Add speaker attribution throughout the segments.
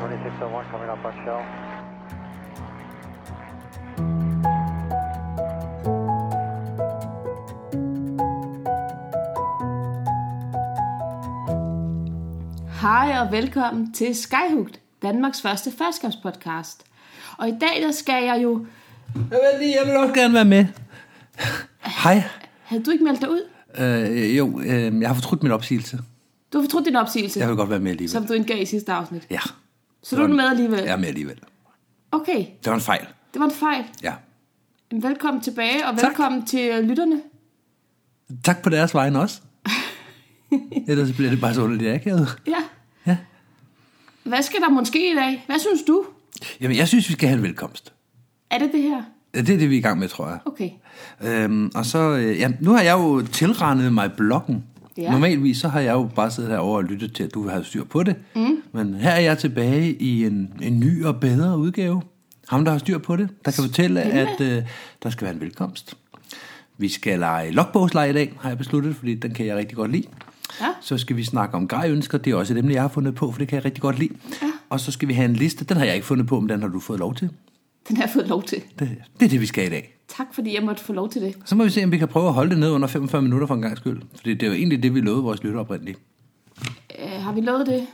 Speaker 1: 2601 coming up on shell.
Speaker 2: Hej og velkommen til Skyhooked, Danmarks første førstskabspodcast. Og i dag der skal jeg jo...
Speaker 3: Jeg vil, lige, jeg vil også gerne være med. Hej.
Speaker 2: Havde du ikke meldt dig ud?
Speaker 3: Øh, jo, øh, jeg har fortrudt min opsigelse.
Speaker 2: Du har fortrudt din opsigelse,
Speaker 3: Jeg vil godt være med alligevel.
Speaker 2: som du indgav i sidste afsnit.
Speaker 3: Ja,
Speaker 2: Så du er
Speaker 3: Sådan.
Speaker 2: med alligevel?
Speaker 3: jeg er med alligevel.
Speaker 2: Okay,
Speaker 3: Det var en fejl.
Speaker 2: det var en fejl.
Speaker 3: Ja.
Speaker 2: Jamen, Velkommen tilbage, og
Speaker 3: Tak.
Speaker 2: velkommen til øh, lytterne.
Speaker 3: Tak på deres vegne også. Ellers bliver det bare så underligt akavet.
Speaker 2: Ja.
Speaker 3: Ja.
Speaker 2: Hvad skal der måske i dag? Hvad synes du?
Speaker 3: Jamen, jeg synes, vi skal have en velkomst.
Speaker 2: Er det det her?
Speaker 3: Det er det, vi er i gang med, tror jeg.
Speaker 2: Okay.
Speaker 3: Øhm, og så, øh, ja, nu har jeg jo tilrendet mig bloggen.
Speaker 2: Ja.
Speaker 3: Ja. Normalvis så har jeg jo bare siddet herovre og lyttet til, at du har styr på det. Mm. Men her er jeg tilbage i en, en ny og bedre udgave. Ham, der har styr på det, der kan fortælle, at øh, der skal være en velkomst. Vi skal lege logbogsleje i dag, har jeg besluttet, fordi den kan jeg rigtig godt lide.
Speaker 2: Ja.
Speaker 3: Så skal vi snakke om grejønsker, det er også et emne, jeg har fundet på, for det kan jeg rigtig godt lide. Ja. Og så skal vi have en liste, den har jeg ikke fundet på, men den har du fået lov til.
Speaker 2: Den har jeg fået lov til.
Speaker 3: Det, det er det, vi skal i dag.
Speaker 2: Tak, fordi jeg måtte få lov til det.
Speaker 3: Så må vi se, om vi kan prøve at holde det ned under 45 minutter for en gang skyld. For det er jo egentlig det, vi lovede vores lytter oprindeligt.
Speaker 2: Øh, har vi lovet det?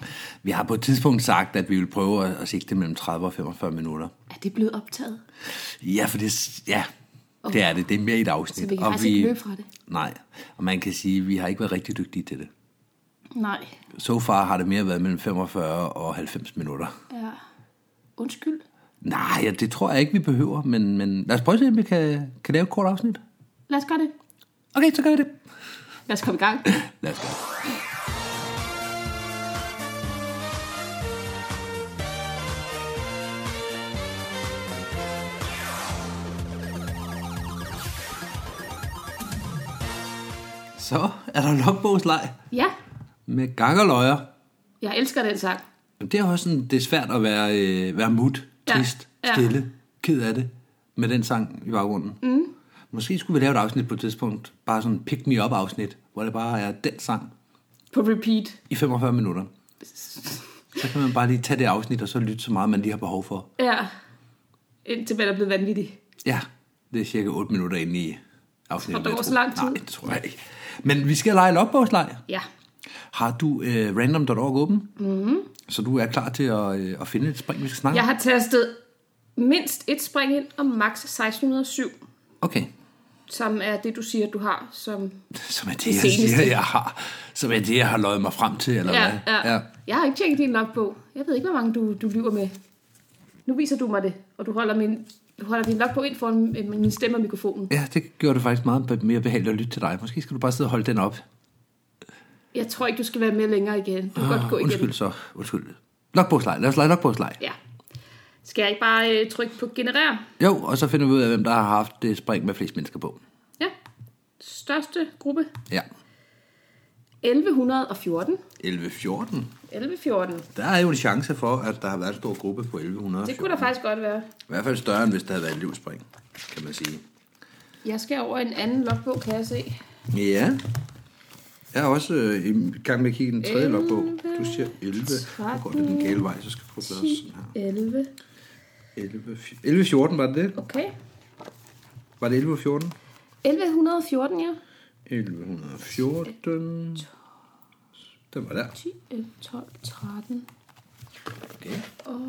Speaker 3: Vi har på et tidspunkt sagt, at vi vil prøve at, at sigte mellem 30 og 45 minutter.
Speaker 2: Er det blevet optaget?
Speaker 3: Ja, for det, ja, det er det. Det er mere i et afsnit.
Speaker 2: Så vi kan faktisk ikke løbe fra det.
Speaker 3: Nej, og man kan sige, at vi har ikke været rigtig dygtige til det.
Speaker 2: Nej.
Speaker 3: Så so far har det mere været mellem 45 og 90 minutter.
Speaker 2: Ja. Undskyld.
Speaker 3: Nej, ja, det tror jeg ikke, vi behøver, men, men lad os prøve at se, om vi kan, kan lave et kort afsnit.
Speaker 2: Lad os gøre det.
Speaker 3: Okay, så gør vi det.
Speaker 2: Lad os komme i gang.
Speaker 3: Lad os gøre det. Så er der logbogslej
Speaker 2: Ja.
Speaker 3: med gang og løjer.
Speaker 2: Jeg elsker den sang.
Speaker 3: Men Det er også sådan, det er svært at være, øh, være mut,
Speaker 2: Ja,
Speaker 3: trist,
Speaker 2: ja.
Speaker 3: stille, ked af det med den sang i baggrunden. Mm. Måske skulle vi lave et afsnit på et tidspunkt, bare sådan en pick-me-up-afsnit, hvor det bare er den sang
Speaker 2: På repeat.
Speaker 3: i 45 minutter. Så kan man bare lige tage det afsnit, og så lytte så meget, man lige har behov for.
Speaker 2: Ja. Indtil man er blevet vanvittig.
Speaker 3: Ja, det er cirka 8 minutter inde i afsnittet.
Speaker 2: Og der
Speaker 3: vil jeg
Speaker 2: går så
Speaker 3: tro.
Speaker 2: lang tid.
Speaker 3: Nej, det tror jeg ikke. Men vi skal lege logbogsleg.
Speaker 2: Ja.
Speaker 3: Har du øh, random.org åben?
Speaker 2: Mhm.
Speaker 3: Mm-hmm. Så du er klar til at, øh, at finde et spring, vi skal snakke
Speaker 2: Jeg
Speaker 3: om?
Speaker 2: har tastet mindst et spring ind og max 1607,
Speaker 3: Okay.
Speaker 2: som er det, du siger, du har. Som...
Speaker 3: Som er det,
Speaker 2: Det
Speaker 3: jeg siger,
Speaker 2: seneste.
Speaker 3: jeg har. Som er det, jeg har løjet mig frem til, eller hvad?
Speaker 2: Jeg har ikke tjekket din logbog. Jeg ved ikke, hvor mange du, du lyver med. Nu viser du mig det, og du holder, min, du holder din logbog ind foran øh, min stemme og mikrofonen.
Speaker 3: ja, det gjorde det faktisk meget be- mere behageligt at lytte til dig. Måske skal du bare sidde og holde den op.
Speaker 2: Jeg tror ikke, du skal være med længere igen. Du kan godt gå
Speaker 3: Ah,
Speaker 2: igen.
Speaker 3: undskyld så. Undskyld. Logbogslej. Lad os lege logbogslej.
Speaker 2: Ja. Skal jeg ikke bare øh, trykke på generer?
Speaker 3: Jo, og så finder vi ud af, hvem der har haft det spring med flest mennesker på.
Speaker 2: Ja. Største gruppe.
Speaker 3: Ja.
Speaker 2: 1114.
Speaker 3: 11-14.
Speaker 2: 1114.
Speaker 3: Der er jo en chance for, at der har været en stor gruppe på 1100.
Speaker 2: Det kunne der faktisk godt være.
Speaker 3: I hvert fald større, end hvis der havde været en livspring, kan man sige.
Speaker 2: Jeg skal over i en anden logbog, kan jeg se.
Speaker 3: Ja. Jeg er også øh, i gang med at kigge i den tredje logbog. Du siger 11. Nu går det den gale vej, så skal jeg prøve at gøre
Speaker 2: 10,
Speaker 3: sådan her.
Speaker 2: 11.
Speaker 3: 11, 11 14 var det det?
Speaker 2: Okay.
Speaker 3: Var det 11 14?
Speaker 2: 1114, ja.
Speaker 3: 1114. Den var der.
Speaker 2: 10, 11, 12, 13
Speaker 3: Okay.
Speaker 2: og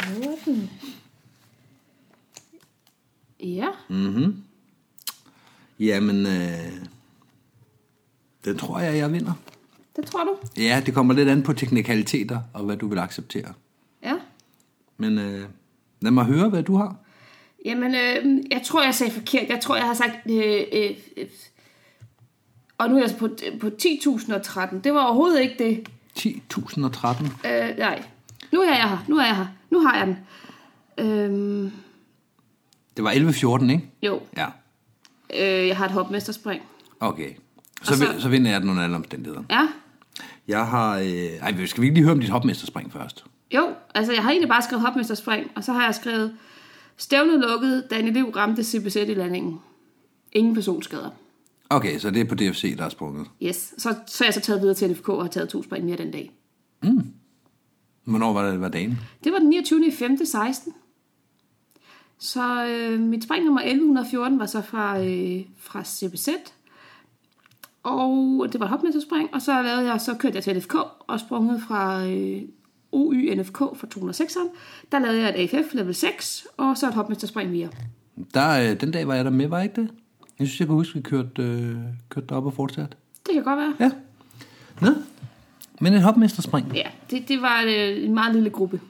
Speaker 2: 14. Ja,
Speaker 3: Mm. Jamen, øh, den tror jeg, jeg vinder.
Speaker 2: det tror du.
Speaker 3: Ja, det kommer lidt an på teknikaliteter og hvad du vil acceptere.
Speaker 2: Ja.
Speaker 3: Men øh, lad mig høre, hvad du har.
Speaker 2: Jamen, øh, jeg tror, jeg sagde forkert. Jeg tror, jeg har sagt... Øh, øh, øh. Og nu er jeg altså på, på 10.013. Det var overhovedet ikke det.
Speaker 3: 10.013.
Speaker 2: Øh, nej. Nu er jeg her. Nu er jeg her. Nu har jeg den. Øhm,
Speaker 3: Det var 11.14, ikke?
Speaker 2: jo,
Speaker 3: Ja,
Speaker 2: øh, jeg har et hopmesterspring.
Speaker 3: okay. Så,
Speaker 2: Og så-
Speaker 3: så... så vinder jeg den under alle omstændigheder.
Speaker 2: Ja,
Speaker 3: Jeg har... Øh... Ej, skal vi ikke lige høre om dit hopmesterspring først?
Speaker 2: jo. Altså, jeg har egentlig bare skrevet hopmesterspring, og så har jeg skrevet stævnet lukket, da en elev ramte CBZ i landingen. Ingen personskader.
Speaker 3: Okay, så det er på DFC, der er sprunget.
Speaker 2: Yes. Så, så er jeg så taget videre til NFK og har taget to spring mere den dag.
Speaker 3: Hvornår var det, var dagen?
Speaker 2: Det var den 29. i 5. 16. Så øh, mit spring nummer 1114 var så fra, øh, fra CBZ. Og det var et hopmesterspring, og så, lavede jeg, så kørte jeg til NFK og sprang ud fra øh, OY NFK fra 206'eren. Der lavede jeg et AFF level 6, og så et hopmesterspring mere.
Speaker 3: Der, øh, den dag var jeg der med, var jeg ikke det? Jeg synes, jeg kan huske, vi kørte, øh, kørte derop og fortsatte.
Speaker 2: Det kan godt være.
Speaker 3: Ja. Nå. Men et hopmesterspring.
Speaker 2: Ja, det, det var øh, en meget lille gruppe.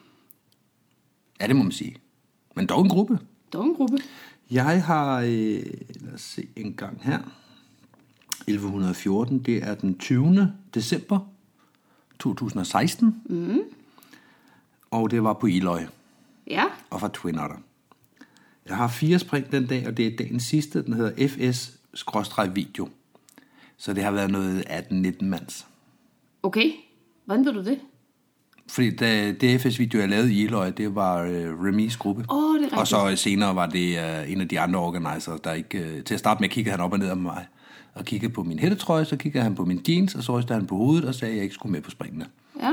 Speaker 3: Ja, det må man sige. Men dog en gruppe.
Speaker 2: Dog en gruppe.
Speaker 3: Jeg har, øh, lad os se en gang her. 1114, det er den 20. december 2016. Mm. Og det var på Iløj
Speaker 2: Ja,
Speaker 3: og fra Twin Otter. Jeg har fire spring den dag, og det er dagens sidste. Den hedder FS-video. Så det har været noget 18-19 mands.
Speaker 2: okay. Hvordan ved du det?
Speaker 3: Fordi da det FS-video, jeg lavede i Iløj, det var øh, Remis gruppe.
Speaker 2: Åh, det er rigtigt.
Speaker 3: og så senere var det øh, en af de andre organizer, der ikke... Øh, til at starte med kiggede han op og ned af mig, og kiggede på min hættetrøje, så kiggede han på min jeans, og så rystede han på hovedet og sagde, at jeg ikke skulle med på springene.
Speaker 2: Ja.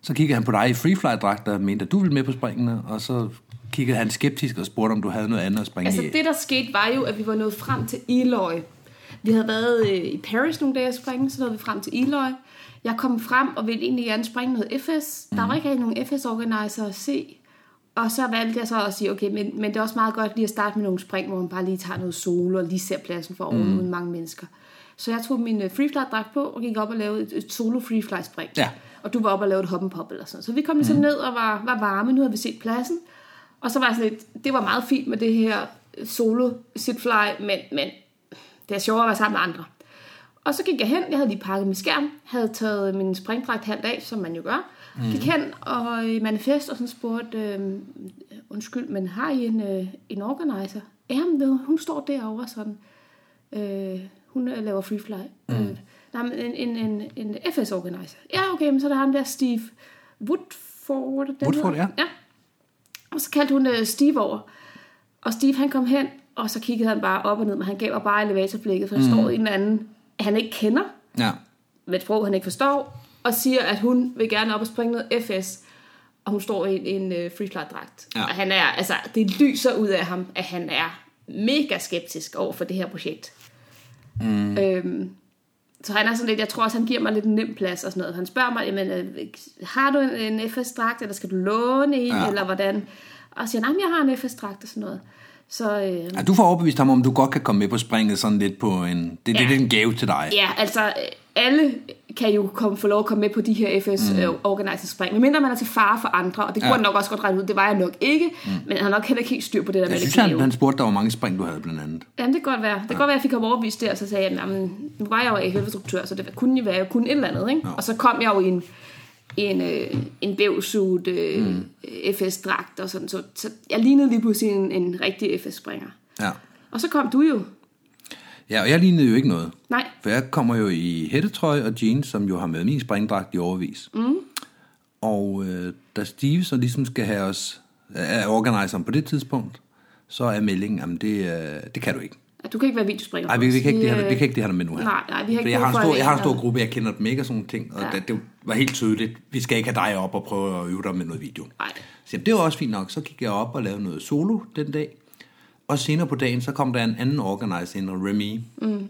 Speaker 3: Så kiggede han på dig i freefly-dragter og mente, at du ville med på springene, og så kiggede han skeptisk og spurgte, om du havde noget andet at springe
Speaker 2: Altså
Speaker 3: i. øh,
Speaker 2: det, der skete, var jo, at vi var nået frem til Eloy. Vi havde været øh, i Paris nogle dage at springe, så nåede vi frem til Eloy. Jeg kom frem og ville egentlig gerne springe noget FS. Der var ikke rigtig nogen FS-organizer at se. Og så valgte jeg så at sige, okay, men, men det er også meget godt lige at starte med nogle spring, hvor man bare lige tager noget solo og lige ser pladsen for oven mm. uden mange mennesker. Så jeg tog min øh, freefly-dragt på og gik op og lavede et, et solo freefly-spring.
Speaker 3: Ja.
Speaker 2: Og du var oppe og lavede et hop and pop eller sådan noget. Så vi kom ligesom mm. ned og var, var varme, nu havde vi set pladsen. Og så var jeg sådan lidt, det var meget fint med det her solo sitfly, men, men det er sjovere at være sammen med andre. Og så gik jeg hen, jeg havde lige pakket min skærm, havde taget min springdragt halvt af, som man jo gør. Mm. Gik hen og øh, i manifest og sådan spurgte, øh, undskyld, men har I en, øh, en organizer? Jamen, ved, hun står derovre sådan. Øh, hun øh, laver freefly. Mm. Øh, nej, men en, en, en, en FS-organizer. Ja, okay, men så er der ham der Steve Woodford. den
Speaker 3: Woodford,
Speaker 2: hedder.
Speaker 3: ja.
Speaker 2: ja. Og så kaldte hun øh, Steve over. Og Steve han kom hen, og så kiggede han bare op og ned, men han gav mig bare elevatorblikket, for der mm. står en eller anden, han ikke kender,
Speaker 3: Ja.
Speaker 2: med et sprog, han ikke forstår, og siger, at hun vil gerne op og springe noget FS, og hun står i en, en øh, freefly-dragt.
Speaker 3: Ja.
Speaker 2: Og han er, altså, det lyser ud af ham, at han er mega skeptisk over for det her projekt. Mm. Øhm, så han er sådan lidt, jeg tror også, han giver mig lidt en nem plads og sådan noget. Han spørger mig, jamen, øh, har du en, en FS-dragt, eller skal du låne en,
Speaker 3: Ja.
Speaker 2: ja. eller hvordan? Og siger, nej, men jeg har en FS-dragt og sådan noget. Så øh,
Speaker 3: ja. Du får overbevist ham, om du godt kan komme med på springet sådan lidt på en... Det, ja.
Speaker 2: Ja.
Speaker 3: det er en gave til dig.
Speaker 2: Ja, altså øh, alle kan jo komme, få lov at komme med på de her FS mm. øh, organizer spring, medmindre man er til fare for andre, og det kunne
Speaker 3: Ja.
Speaker 2: ja. han nok også godt regne ud, det var jeg nok ikke, mm. men han har nok heller ikke helt styr på det der med
Speaker 3: Jeg synes,
Speaker 2: det
Speaker 3: han,
Speaker 2: knæve.
Speaker 3: han spurgte dig, hvor mange spring du havde blandt andet.
Speaker 2: Jamen, det kan godt være. Det kan godt være, at jeg fik ham overbevist der, og så sagde jeg, jamen, nu var jeg jo AFF-instruktør, så det kunne jo være, jeg kunne et eller andet, ikke? Og så kom jeg jo i en, en, øh, en bævsut øh, mm. FS-dragt og sådan, så, så jeg lignede lige pludselig en, en rigtig FS-springer.
Speaker 3: Ja.
Speaker 2: Og så kom du jo.
Speaker 3: ja, og jeg lignede jo ikke noget.
Speaker 2: Nej,
Speaker 3: For jeg kommer jo i hættetrøje og jeans, som jo har med min springdragt i overvis. Mm. Og øh, da Steve så ligesom skal have os, er organiseren på det tidspunkt, så er meldingen, jamen det, øh, det kan du ikke.
Speaker 2: at du kan ikke være videospringer.
Speaker 3: Nej, vi, vi, kan ikke det her,
Speaker 2: øh,
Speaker 3: vi kan ikke det her med nu her.
Speaker 2: nej, nej, vi har ikke
Speaker 3: Fordi jeg har, en
Speaker 2: brug for
Speaker 3: stor, jeg har en
Speaker 2: at-
Speaker 3: stor gruppe, jeg kender dem ikke og sådan nogle ting, og
Speaker 2: Ja.
Speaker 3: ja. det, det var helt tydeligt, vi skal ikke have dig op og prøve at øve dig med noget video.
Speaker 2: Nej.
Speaker 3: Så jamen, det var også fint nok, så gik jeg op og lavede noget solo den dag, og senere på dagen, så kom der en anden organizer ind, Remy. Mm.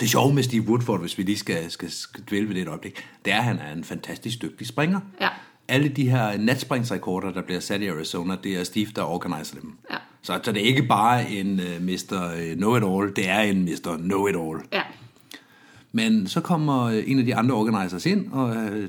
Speaker 3: Det sjove med Steve Woodford, hvis vi lige skal, skal, skal dvæle ved det et øjeblik, det er, at han er en fantastisk dygtig springer.
Speaker 2: Ja.
Speaker 3: Alle de her natspringsrekorder, der bliver sat i Arizona, det er Steve, der organiserer dem.
Speaker 2: Ja.
Speaker 3: Så, så det er ikke bare en uh, Mr. Know-it-all, det er en Mr. Know-it-all.
Speaker 2: Ja.
Speaker 3: Men så kommer øh, en af de andre organizers ind, og øh,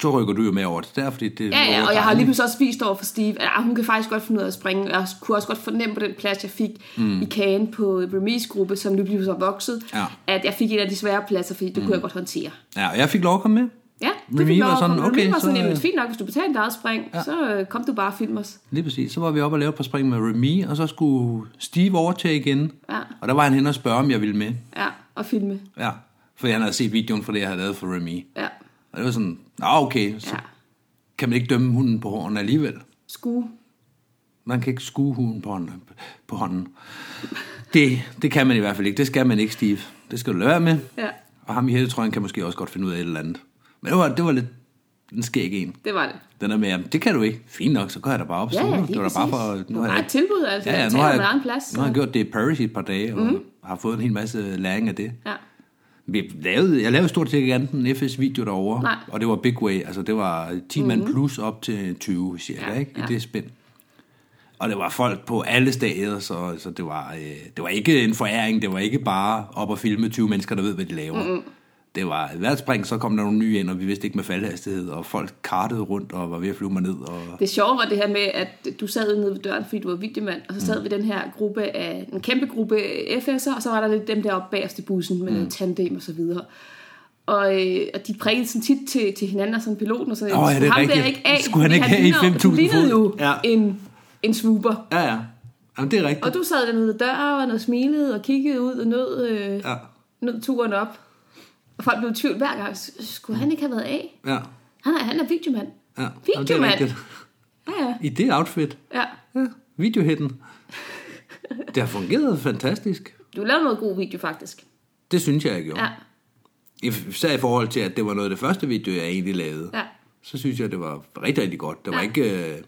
Speaker 3: så rykker du jo med over til der, fordi det
Speaker 2: Ja, ja,
Speaker 3: var
Speaker 2: og jeg har
Speaker 3: dejligt.
Speaker 2: lige pludselig også vist over for Steve, at ah, hun kan faktisk godt finde ud af at springe. Jeg kunne også godt fornemme på den plads, jeg fik mm. i kagen på Remis-gruppe, som nu blev så vokset,
Speaker 3: Ja.
Speaker 2: at jeg fik en af de svære pladser, fordi det mm. kunne jeg godt håndtere.
Speaker 3: Ja, og jeg fik lov at komme med.
Speaker 2: Ja, det
Speaker 3: Remy
Speaker 2: fik lov
Speaker 3: var
Speaker 2: at
Speaker 3: sådan,
Speaker 2: komme. Remy
Speaker 3: okay,
Speaker 2: var sådan,
Speaker 3: så,
Speaker 2: jamen,
Speaker 3: øh,
Speaker 2: fint nok, hvis du betaler dit eget spring, ja. så øh, kom du bare og film os.
Speaker 3: Lige præcis. Så var vi oppe og lave et par spring med Remy, og så skulle Steve overtage igen.
Speaker 2: Ja.
Speaker 3: Og der var han hen og spørge, om jeg ville med.
Speaker 2: Ja, og filme.
Speaker 3: Ja, fordi han havde set videoen fra det, jeg havde lavet for Remy.
Speaker 2: Ja,
Speaker 3: Og det var sådan, ah okay, så
Speaker 2: ja.
Speaker 3: kan man ikke dømme hunden på hånden alligevel.
Speaker 2: Skue.
Speaker 3: Man kan ikke skue hunden på hånden. På hånden. Det, det kan man i hvert fald ikke. Det skal man ikke, Steve. Det skal du lade være med.
Speaker 2: Ja.
Speaker 3: Og ham i hættetrøjen kan måske også godt finde ud af et eller andet. Men det var, det var lidt Den skal ikke en.
Speaker 2: Det var det.
Speaker 3: Den er med, jamen, det kan du ikke. Fint nok, så går jeg da bare op.
Speaker 2: Ja,
Speaker 3: solo.
Speaker 2: ja,
Speaker 3: det
Speaker 2: lige
Speaker 3: var da bare for...
Speaker 2: præcis. Det var bare et tilbud, altså. Jeg taler med egen plads,
Speaker 3: nu
Speaker 2: så-
Speaker 3: har jeg gjort det i Paris i et par dage, og mm. har fået en hel masse læring af det.
Speaker 2: Ja.
Speaker 3: Vi lavede, jeg lavede stort set ikke andet end FS video derovre,
Speaker 2: Nej. Mhm.
Speaker 3: og det var big way, altså det var 10 mand plus op til 20 cirka,
Speaker 2: Ja,
Speaker 3: ikke? I
Speaker 2: ja.
Speaker 3: det spænd. Og det var folk på alle steder, så, så det, var, øh, det var ikke en foræring, det var ikke bare op og filme 20 mennesker, der ved, hvad de laver. Mm-hmm. Det var hvert spring, så kom der nogle nye ind, og vi vidste ikke med faldhastighed, og folk kartede rundt og var ved at flyve mig ned. Og...
Speaker 2: Det sjove var det her med, at du sad nede ved døren, fordi du var videomand, og så sad mm. vi den her gruppe af, en kæmpe gruppe FS'er, og så var der lidt dem deroppe bagerst i bussen med mm. tandem og så videre. Og, øh, og de prikkede sådan tit til, til hinanden og sådan piloten og sådan
Speaker 3: Åh, ja, det er
Speaker 2: "Skulle ham
Speaker 3: rigtigt.
Speaker 2: der ikke af,
Speaker 3: Skulle han
Speaker 2: fordi
Speaker 3: ikke have i
Speaker 2: ligner-
Speaker 3: 5.000
Speaker 2: Du lignede
Speaker 3: fod?"
Speaker 2: jo
Speaker 3: Ja.
Speaker 2: ja. en, en swooper.
Speaker 3: Ja, ja. Jamen, det er rigtigt.
Speaker 2: Og du sad dernede ved døren og smilede og kiggede ud og nød, øh,
Speaker 3: Ja,
Speaker 2: nød turen op. Og folk blev i tvivl hver gang. Skulle han ikke have været af?
Speaker 3: ja,
Speaker 2: Han er, han er videomand.
Speaker 3: ja. Jamen, det er
Speaker 2: Videomand.
Speaker 3: rigtigt.
Speaker 2: Ja, ja.
Speaker 3: I det outfit.
Speaker 2: ja.
Speaker 3: Ja, videohitten. Det har fungeret fantastisk.
Speaker 2: Du lavede noget god video, faktisk.
Speaker 3: Det synes jeg, jeg gjorde.
Speaker 2: Ja,
Speaker 3: Ja. Især i forhold til, at det var noget af det første video, jeg egentlig lavede.
Speaker 2: ja.
Speaker 3: Så synes jeg, det var rigtig, rigtig godt. Det var ja.
Speaker 2: Ja.
Speaker 3: ikke... Øh...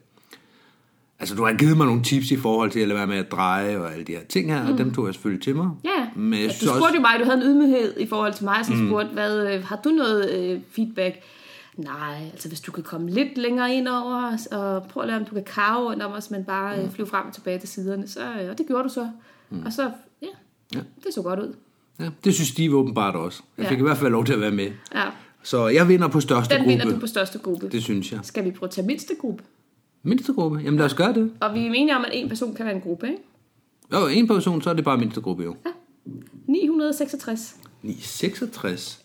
Speaker 3: Altså, du har givet mig nogle tips i forhold til at lade være med at dreje og alle de her ting her, mm. og dem tog jeg selvfølgelig til mig.
Speaker 2: Ja,
Speaker 3: Men jeg
Speaker 2: du
Speaker 3: synes
Speaker 2: spurgte
Speaker 3: også...
Speaker 2: jo mig, du havde en ydmyghed i forhold til mig, så mm. spurgte, hvad, øh, har du noget øh, feedback? Nej, altså hvis du kan komme lidt længere ind over os, og prøv at lade, om du kan kave rundt om os, men bare
Speaker 3: Mm.
Speaker 2: øh, flyve frem og tilbage til siderne. Så, øh, og det gjorde du så. Mm. Og så, ja,
Speaker 3: Ja.
Speaker 2: ja, det så godt ud.
Speaker 3: Ja, det synes de åbenbart også. Jeg
Speaker 2: Ja.
Speaker 3: fik i hvert fald lov til at være med.
Speaker 2: Ja,
Speaker 3: Så jeg vinder på største
Speaker 2: den
Speaker 3: gruppe.
Speaker 2: vinder du på største gruppe. Det...
Speaker 3: Det synes jeg.
Speaker 2: Skal vi prøve at tage mindste gruppe?
Speaker 3: Mindste gruppe? Jamen lad os gøre det.
Speaker 2: Og vi er enige om, at en person kan være en gruppe, ikke?
Speaker 3: Jo, en person, så er det bare mindste gruppe jo.
Speaker 2: Ja. 966.
Speaker 3: 966.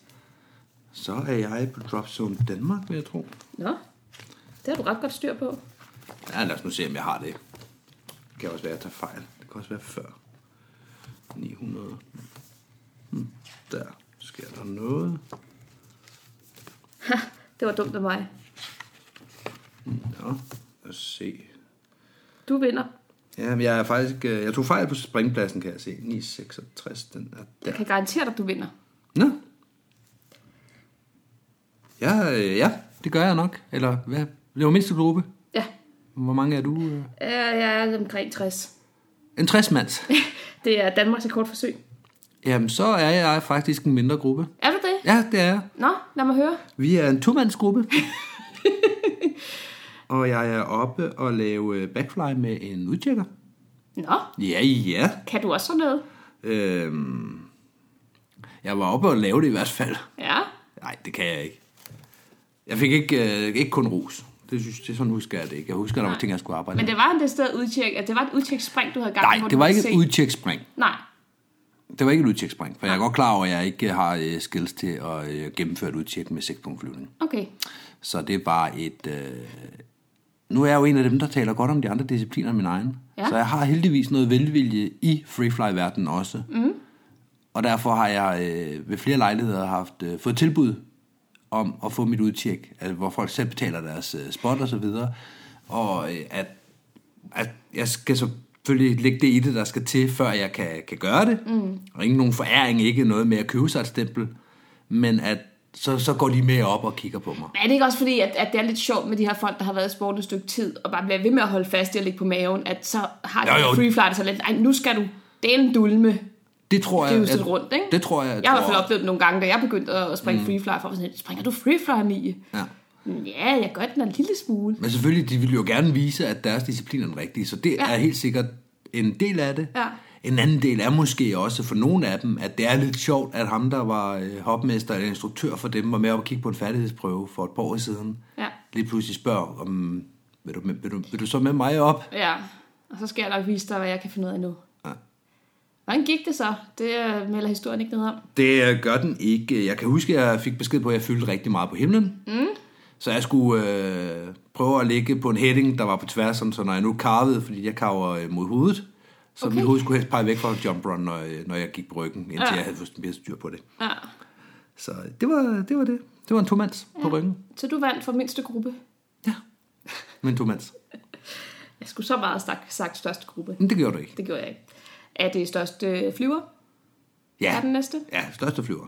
Speaker 3: Så er jeg på Dropzone Danmark, vil jeg tro.
Speaker 2: Nå, det har du ret godt styr på.
Speaker 3: Ja, lad os nu se, om jeg har det. Det kan også være, at jeg tager fejl. Det kan også være før. 900. Hmm. Der sker der noget.
Speaker 2: Det var dumt af mig.
Speaker 3: Nå, lad os se.
Speaker 2: Du vinder.
Speaker 3: Ja, men jeg er faktisk... øh, Jeg tog fejl på springpladsen, kan jeg se. 966, den er
Speaker 2: Jeg
Speaker 3: der.
Speaker 2: kan garantere dig, at du vinder.
Speaker 3: Nå. Ja, øh, ja, det gør jeg nok. Eller hvad? Det var mindste gruppe.
Speaker 2: Ja,
Speaker 3: Hvor mange er du? øh?
Speaker 2: Øh, jeg er omkring 60.
Speaker 3: En 60-mands.
Speaker 2: Det er Danmarks rekordforsøg.
Speaker 3: Jamen, så er jeg faktisk en mindre gruppe.
Speaker 2: Er du det?
Speaker 3: Ja, det er jeg.
Speaker 2: Nå, lad mig høre.
Speaker 3: Vi er en tomandsgruppe. og jeg er oppe og lave øh, backfly med en udtjekker.
Speaker 2: Nå,
Speaker 3: Ja, ja.
Speaker 2: kan du også sådan noget?
Speaker 3: Øhm, jeg var oppe og lave det i hvert fald.
Speaker 2: Ja.
Speaker 3: Nej, det kan jeg ikke. Jeg fik ikke, øh, ikke kun ros. Det, synes, det er sådan husker jeg det ikke. Jeg husker, der var ting, jeg skulle arbejde
Speaker 2: Men
Speaker 3: med.
Speaker 2: det var en det sted udtjek, at det var et udtjekspring, du havde gang i,
Speaker 3: Nej,
Speaker 2: hvor
Speaker 3: det
Speaker 2: du
Speaker 3: var
Speaker 2: kunne
Speaker 3: ikke
Speaker 2: se.
Speaker 3: et udtjekspring.
Speaker 2: Nej,
Speaker 3: Det var ikke et udtjekspring, for jeg er godt klar over, at jeg ikke har øh, skills til at øh, gennemføre et udtjek med sekspunktflyvning.
Speaker 2: okay.
Speaker 3: Så det var et... Øh... Nu er jeg jo en af dem, der taler godt om de andre discipliner end min egen.
Speaker 2: Ja.
Speaker 3: Så jeg har heldigvis noget velvilje i freefly-verdenen også. Mm. Og derfor har jeg øh, ved flere lejligheder haft øh, fået tilbud om at få mit udtjek, altså, hvor folk selv betaler deres øh, spot og så videre. Og øh, at, at jeg skal selvfølgelig lægge det i det, der skal til, før jeg kan, kan gøre det. Mm. Og ikke nogen foræring, ikke noget med at købe sig et stempel. Men at så, så går de med op og kigger på mig.
Speaker 2: Men er det ikke også fordi, at, at det er lidt sjovt med de her folk, der har været i sporten et stykke tid, og bare bliver ved med at holde fast i at ligge på maven, at så har de
Speaker 3: Jo, jo.
Speaker 2: free flight, og så lidt, ej, nu skal du delen dulme.
Speaker 3: Det tror jeg.
Speaker 2: Det er jo sådan
Speaker 3: at-
Speaker 2: rundt, ikke?
Speaker 3: Det tror jeg.
Speaker 2: Jeg har i hvert fald oplevet det nogle gange, da jeg begyndte at springe mm. free fly, for at sådan, springer du free fly, Mie?
Speaker 3: Ja.
Speaker 2: Ja, jeg gør den en lille smule.
Speaker 3: Men selvfølgelig, de vil jo gerne vise, at deres disciplin er den rigtige, så det ja.
Speaker 2: Ja.
Speaker 3: er helt sikkert en del af det.
Speaker 2: Ja.
Speaker 3: En anden del er måske også for nogle af dem, at det er lidt sjovt, at ham, der var øh, hopmester eller instruktør for dem, var med op og kigge på en færdighedsprøve for et par år siden.
Speaker 2: Ja.
Speaker 3: Lige pludselig spørger, om, vil, du, vil, du, vil du så med mig op?
Speaker 2: Ja, og så skal jeg nok vise dig, hvad jeg kan finde ud af nu.
Speaker 3: Ja.
Speaker 2: Hvordan gik det så? Det øh, melder historien ikke noget om.
Speaker 3: Det øh, gør den ikke. Jeg kan huske, at jeg fik besked på, at jeg fyldte rigtig meget på himlen. Mm. Så jeg skulle øh, prøve at ligge på en heading, der var på tværs, sådan, så når jeg nu karvede, fordi jeg karver øh, mod hovedet, så okay.
Speaker 2: Okay.
Speaker 3: mit hoved skulle helst pege væk fra jump run, når, øh, når jeg gik på ryggen, indtil ja.
Speaker 2: Ja.
Speaker 3: jeg havde fået mere styr på det.
Speaker 2: Ja.
Speaker 3: Så det var det. Var det. det var en tomands ja. på ryggen.
Speaker 2: Så du vandt for mindste gruppe.
Speaker 3: Ja, men tomands.
Speaker 2: Jeg skulle så meget sagt, sagt største gruppe.
Speaker 3: Men det gjorde du ikke.
Speaker 2: Det gjorde jeg ikke. Er det største øh, flyver?
Speaker 3: Ja,
Speaker 2: Er den næste?
Speaker 3: Mm. ja største flyver.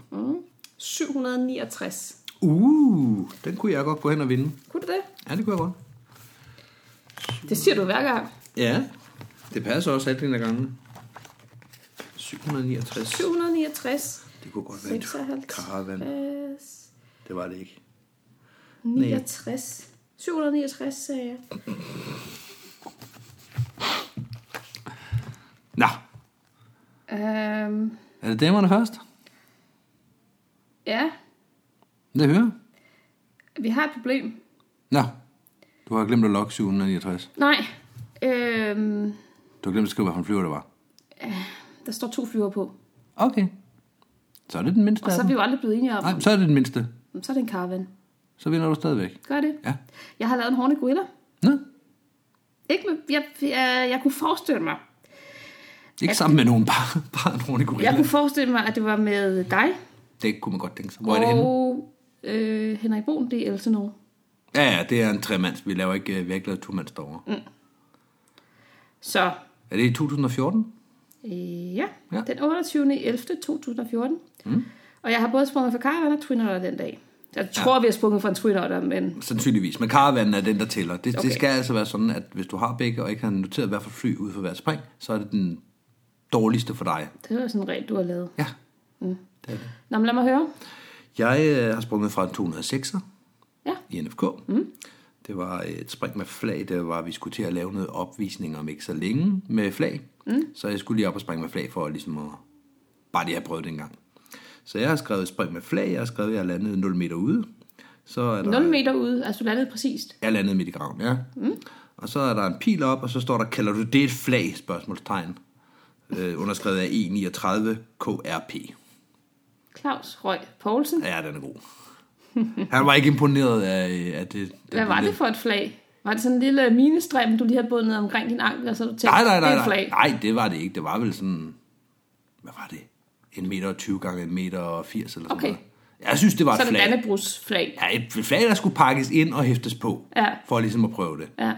Speaker 2: 769.
Speaker 3: Uh, den kunne jeg godt gå hen og vinde.
Speaker 2: Kunne du det?
Speaker 3: Ja, det kunne jeg godt.
Speaker 2: Det siger du hver gang.
Speaker 3: Ja, det passer også halvdelen af gangen. 769.
Speaker 2: 769.
Speaker 3: Det kunne godt være en
Speaker 2: 56.
Speaker 3: caravan. Det var det ikke.
Speaker 2: 69. 769, sagde jeg.
Speaker 3: Nå,
Speaker 2: Øhm,
Speaker 3: er det damerne først?
Speaker 2: ja,
Speaker 3: Det hører.
Speaker 2: vi har et problem.
Speaker 3: Nå, du har glemt at logge 769.
Speaker 2: Nej, øhm,
Speaker 3: Du har glemt at skrive, hvilken flyver det var.
Speaker 2: der står to flyver på.
Speaker 3: Okay. Så er det den mindste
Speaker 2: Og
Speaker 3: af
Speaker 2: så er
Speaker 3: dem.
Speaker 2: vi jo aldrig blevet enige om,
Speaker 3: Nej, så er det den mindste.
Speaker 2: så er det en caravan.
Speaker 3: Så vinder du stadigvæk.
Speaker 2: Gør det.
Speaker 3: Ja.
Speaker 2: Jeg har lavet en hornet gorilla.
Speaker 3: Nå,
Speaker 2: Ikke med, jeg, jeg, jeg kunne forestille mig,
Speaker 3: ikke sammen med nogen, bare, bare en ordentlig gorilla.
Speaker 2: jeg kunne forestille mig, at det var med dig
Speaker 3: Det kunne man godt tænke sig. Hvor er det henne?
Speaker 2: og øh, Henrik Brun, det er Elsenor.
Speaker 3: Ja, ja, det er en tremands. Vi laver ikke, øh, vi har ikke lavet tomands derovre. Mm.
Speaker 2: Så
Speaker 3: Er det i 2014?
Speaker 2: øh, ja,
Speaker 3: Ja.
Speaker 2: ja, den 28. 11. 2014. Mm. Og jeg har både sprunget for Caravan og Twin Otter den dag. Jeg tror, ja. vi har sprunget for en Twin Otter, men
Speaker 3: Sandsynligvis. Men karavanen er den, der tæller. Det, okay.
Speaker 2: Okay.
Speaker 3: det skal altså være sådan, at hvis du har begge og ikke har noteret hvert fald fly ud for hvert spring, så er det den dårligste for dig.
Speaker 2: det var sådan rent, du har lavet.
Speaker 3: Ja.
Speaker 2: Nå, men lad mig høre.
Speaker 3: Jeg øh, har sprunget fra en 206'er
Speaker 2: Ja,
Speaker 3: i NFK. Mm. Det var et spring med flag, der var, vi skulle til at lave noget opvisning om ikke så længe med flag. Mm. Så jeg skulle lige op og springe med flag for ligesom at bare lige have prøvet det en gang. Så jeg har skrevet spring med flag, jeg har skrevet, at jeg landede 0 meter ude. Så er der,
Speaker 2: 0 meter ude, altså du landede præcist.
Speaker 3: Jeg landede midt i graven, ja. Mm. Og så er der en pil op, og så står der, kalder du det et flag? Spørgsmålstegn. Øh, underskrevet af E39 KRP.
Speaker 2: Claus Røg Poulsen.
Speaker 3: Ja, den er god. Han var ikke imponeret af, at det...
Speaker 2: Hvad var det for et flag? Var det sådan en lille minestrem, du lige havde bundet omkring din ankel, og så du tænkte,
Speaker 3: Nej, nej,
Speaker 2: det
Speaker 3: nej,
Speaker 2: er et
Speaker 3: nej.
Speaker 2: flag?
Speaker 3: Nej, det var det ikke. Det var vel sådan... Hvad var det? En meter og 20 gange en meter og 80 eller sådan
Speaker 2: Okay.
Speaker 3: noget. Jeg synes, det var
Speaker 2: Så
Speaker 3: et
Speaker 2: er det
Speaker 3: flag.
Speaker 2: Dannebrugs flag.
Speaker 3: Ja, et flag, der skulle pakkes ind og hæftes på.
Speaker 2: Ja.
Speaker 3: For ligesom at prøve det.
Speaker 2: Ja.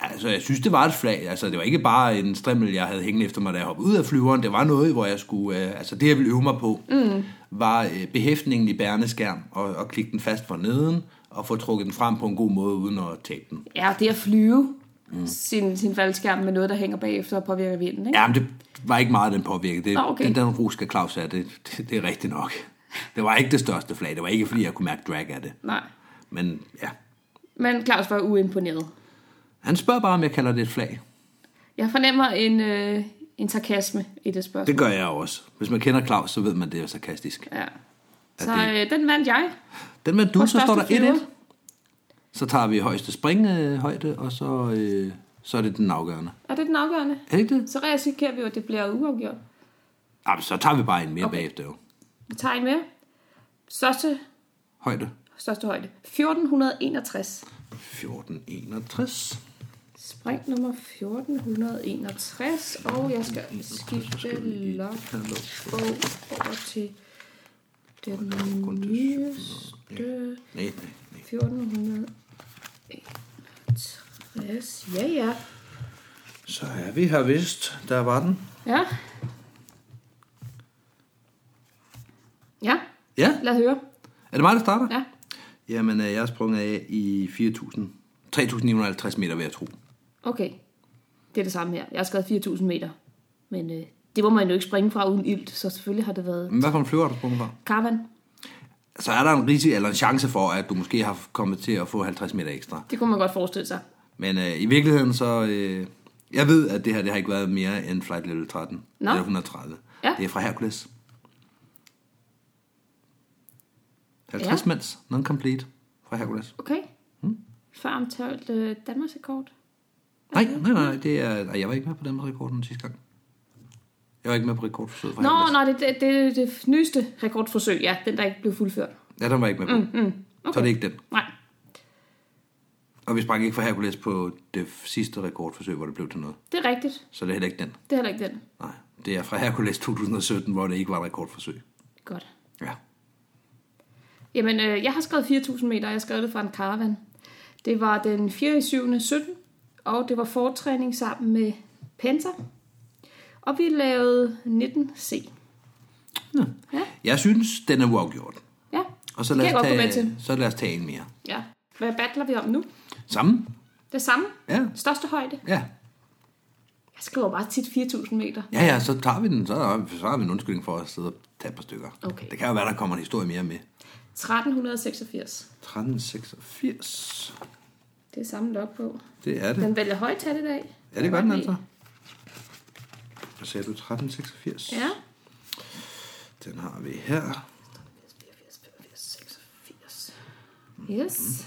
Speaker 3: Altså, jeg synes, det var et flag. Altså, det var ikke bare en strimmel, jeg havde hængende efter mig, da jeg hoppede ud af flyveren. Det var noget, hvor jeg skulle... Øh, altså, det, jeg ville øve mig på, mm. var øh, behæftningen i bærende skærm, og, og klikke den fast for neden, og få trukket den frem på en god måde, uden at tabe den.
Speaker 2: Ja, det at flyve mm. sin, sin faldskærm med noget, der hænger bagefter og påvirker vinden, ikke?
Speaker 3: Ja, men det var ikke meget, den påvirkede. Det,
Speaker 2: Nå, okay.
Speaker 3: Den der rus skal Claus af, det, det, det er rigtigt nok. Det var ikke det største flag. Det var ikke, fordi jeg kunne mærke drag af det.
Speaker 2: Nej.
Speaker 3: Men ja,
Speaker 2: Men Claus var uimponeret.
Speaker 3: han spørger bare, om jeg kalder det et flag.
Speaker 2: Jeg fornemmer en, øh, en sarkasme i det spørgsmål.
Speaker 3: Det gør jeg også. Hvis man kender Claus, så ved man, det er sarkastisk.
Speaker 2: Ja. Så
Speaker 3: det-
Speaker 2: øh, den vandt jeg.
Speaker 3: Den med du,
Speaker 2: På
Speaker 3: så står der
Speaker 2: største flyver.
Speaker 3: 1-1. Så tager vi højeste springhøjde, og så, øh, så er det den afgørende.
Speaker 2: Er det den afgørende?
Speaker 3: Er det ikke det?
Speaker 2: Så risikerer vi jo, at det bliver uafgjort.
Speaker 3: Jamen, så tager vi bare en mere okay.
Speaker 2: Okay.
Speaker 3: bagefter. Jo.
Speaker 2: Vi tager en mere. Største,
Speaker 3: Højde.
Speaker 2: største højde. 1461.
Speaker 3: 1461.
Speaker 2: Spring nummer 1461, og jeg skal skifte logbog over til den nyeste
Speaker 3: Nej, nej, nej.
Speaker 2: 1461. Ja, ja.
Speaker 3: Så er vi her vist. Der var den.
Speaker 2: Ja. Ja,
Speaker 3: Ja,
Speaker 2: lad os høre.
Speaker 3: er det mig, der starter?
Speaker 2: Ja.
Speaker 3: Jamen, øh, jeg har sprunget af i 4.000. 3.950 meter, vil jeg tro.
Speaker 2: Okay. Det er det samme her. Jeg har skrevet 4.000 meter. Men øh, det må man jo ikke springe fra uden ilt, så selvfølgelig har det været
Speaker 3: Men hvad for en flyver har du sprunget fra?
Speaker 2: karavan.
Speaker 3: Så er der en risiko eller en chance for, at du måske har kommet til at få 50 meter ekstra.
Speaker 2: Det kunne man godt forestille sig.
Speaker 3: Men øh, i virkeligheden så... Øh, jeg ved, at det her det har ikke været mere end flight level 13.
Speaker 2: Nå.
Speaker 3: Eller 130.
Speaker 2: Ja.
Speaker 3: Det er fra Hercules. 50 ja. mands, non-complete fra Hercules.
Speaker 2: Okay. Før omtalt øh, Danmarks rekord.
Speaker 3: Nej, nej, nej, det er, nej, jeg var ikke med på den rekord den sidste gang. Jeg var ikke med på rekordforsøget fra
Speaker 2: Nå,
Speaker 3: Hercules.
Speaker 2: nej, det er det, det, det nyeste rekordforsøg, ja. Den, der ikke blev fuldført. Hmm,
Speaker 3: Ja, den var jeg ikke med på. Mm, mm. Okay. Så er det ikke den.
Speaker 2: Nej.
Speaker 3: Og vi sprang ikke fra Hercules på det sidste rekordforsøg, hvor det blev til noget.
Speaker 2: Det er rigtigt.
Speaker 3: Så det er heller ikke den.
Speaker 2: Det er heller ikke den.
Speaker 3: Nej, det er fra Hercules 2017, hvor det ikke var et rekordforsøg.
Speaker 2: Godt.
Speaker 3: Ja.
Speaker 2: Jamen, øh, jeg har skrevet 4.000 meter, og jeg skrev det fra en caravan. Det var den 4. 7. 17, og det var fortræning sammen med Penta. Og vi lavede 19C.
Speaker 3: Nå.
Speaker 2: Ja.
Speaker 3: Jeg synes, den er uafgjort.
Speaker 2: Ja,
Speaker 3: Og så
Speaker 2: Det
Speaker 3: lad,
Speaker 2: kan
Speaker 3: os
Speaker 2: jeg godt gå
Speaker 3: tage,
Speaker 2: med
Speaker 3: så lad os tage en mere.
Speaker 2: Ja. Hvad battler vi om nu?
Speaker 3: Samme?
Speaker 2: Det samme?
Speaker 3: Ja.
Speaker 2: Største højde?
Speaker 3: Ja.
Speaker 2: Jeg skriver bare tit 4.000 meter.
Speaker 3: Ja, ja, så tager vi den. Så, er- så har vi en undskyldning for at sidde og tage et par stykker.
Speaker 2: Okay.
Speaker 3: Det kan jo være, der kommer en historie mere med.
Speaker 2: 1386.
Speaker 3: 1386.
Speaker 2: Det er samlet op på.
Speaker 3: Det er det.
Speaker 2: Den vælger højtal i dag.
Speaker 3: Ja, det gør den altså. Hvad sagde du? 1386?
Speaker 2: Ja.
Speaker 3: Den har vi her.
Speaker 2: 84, 85, 86. Yes.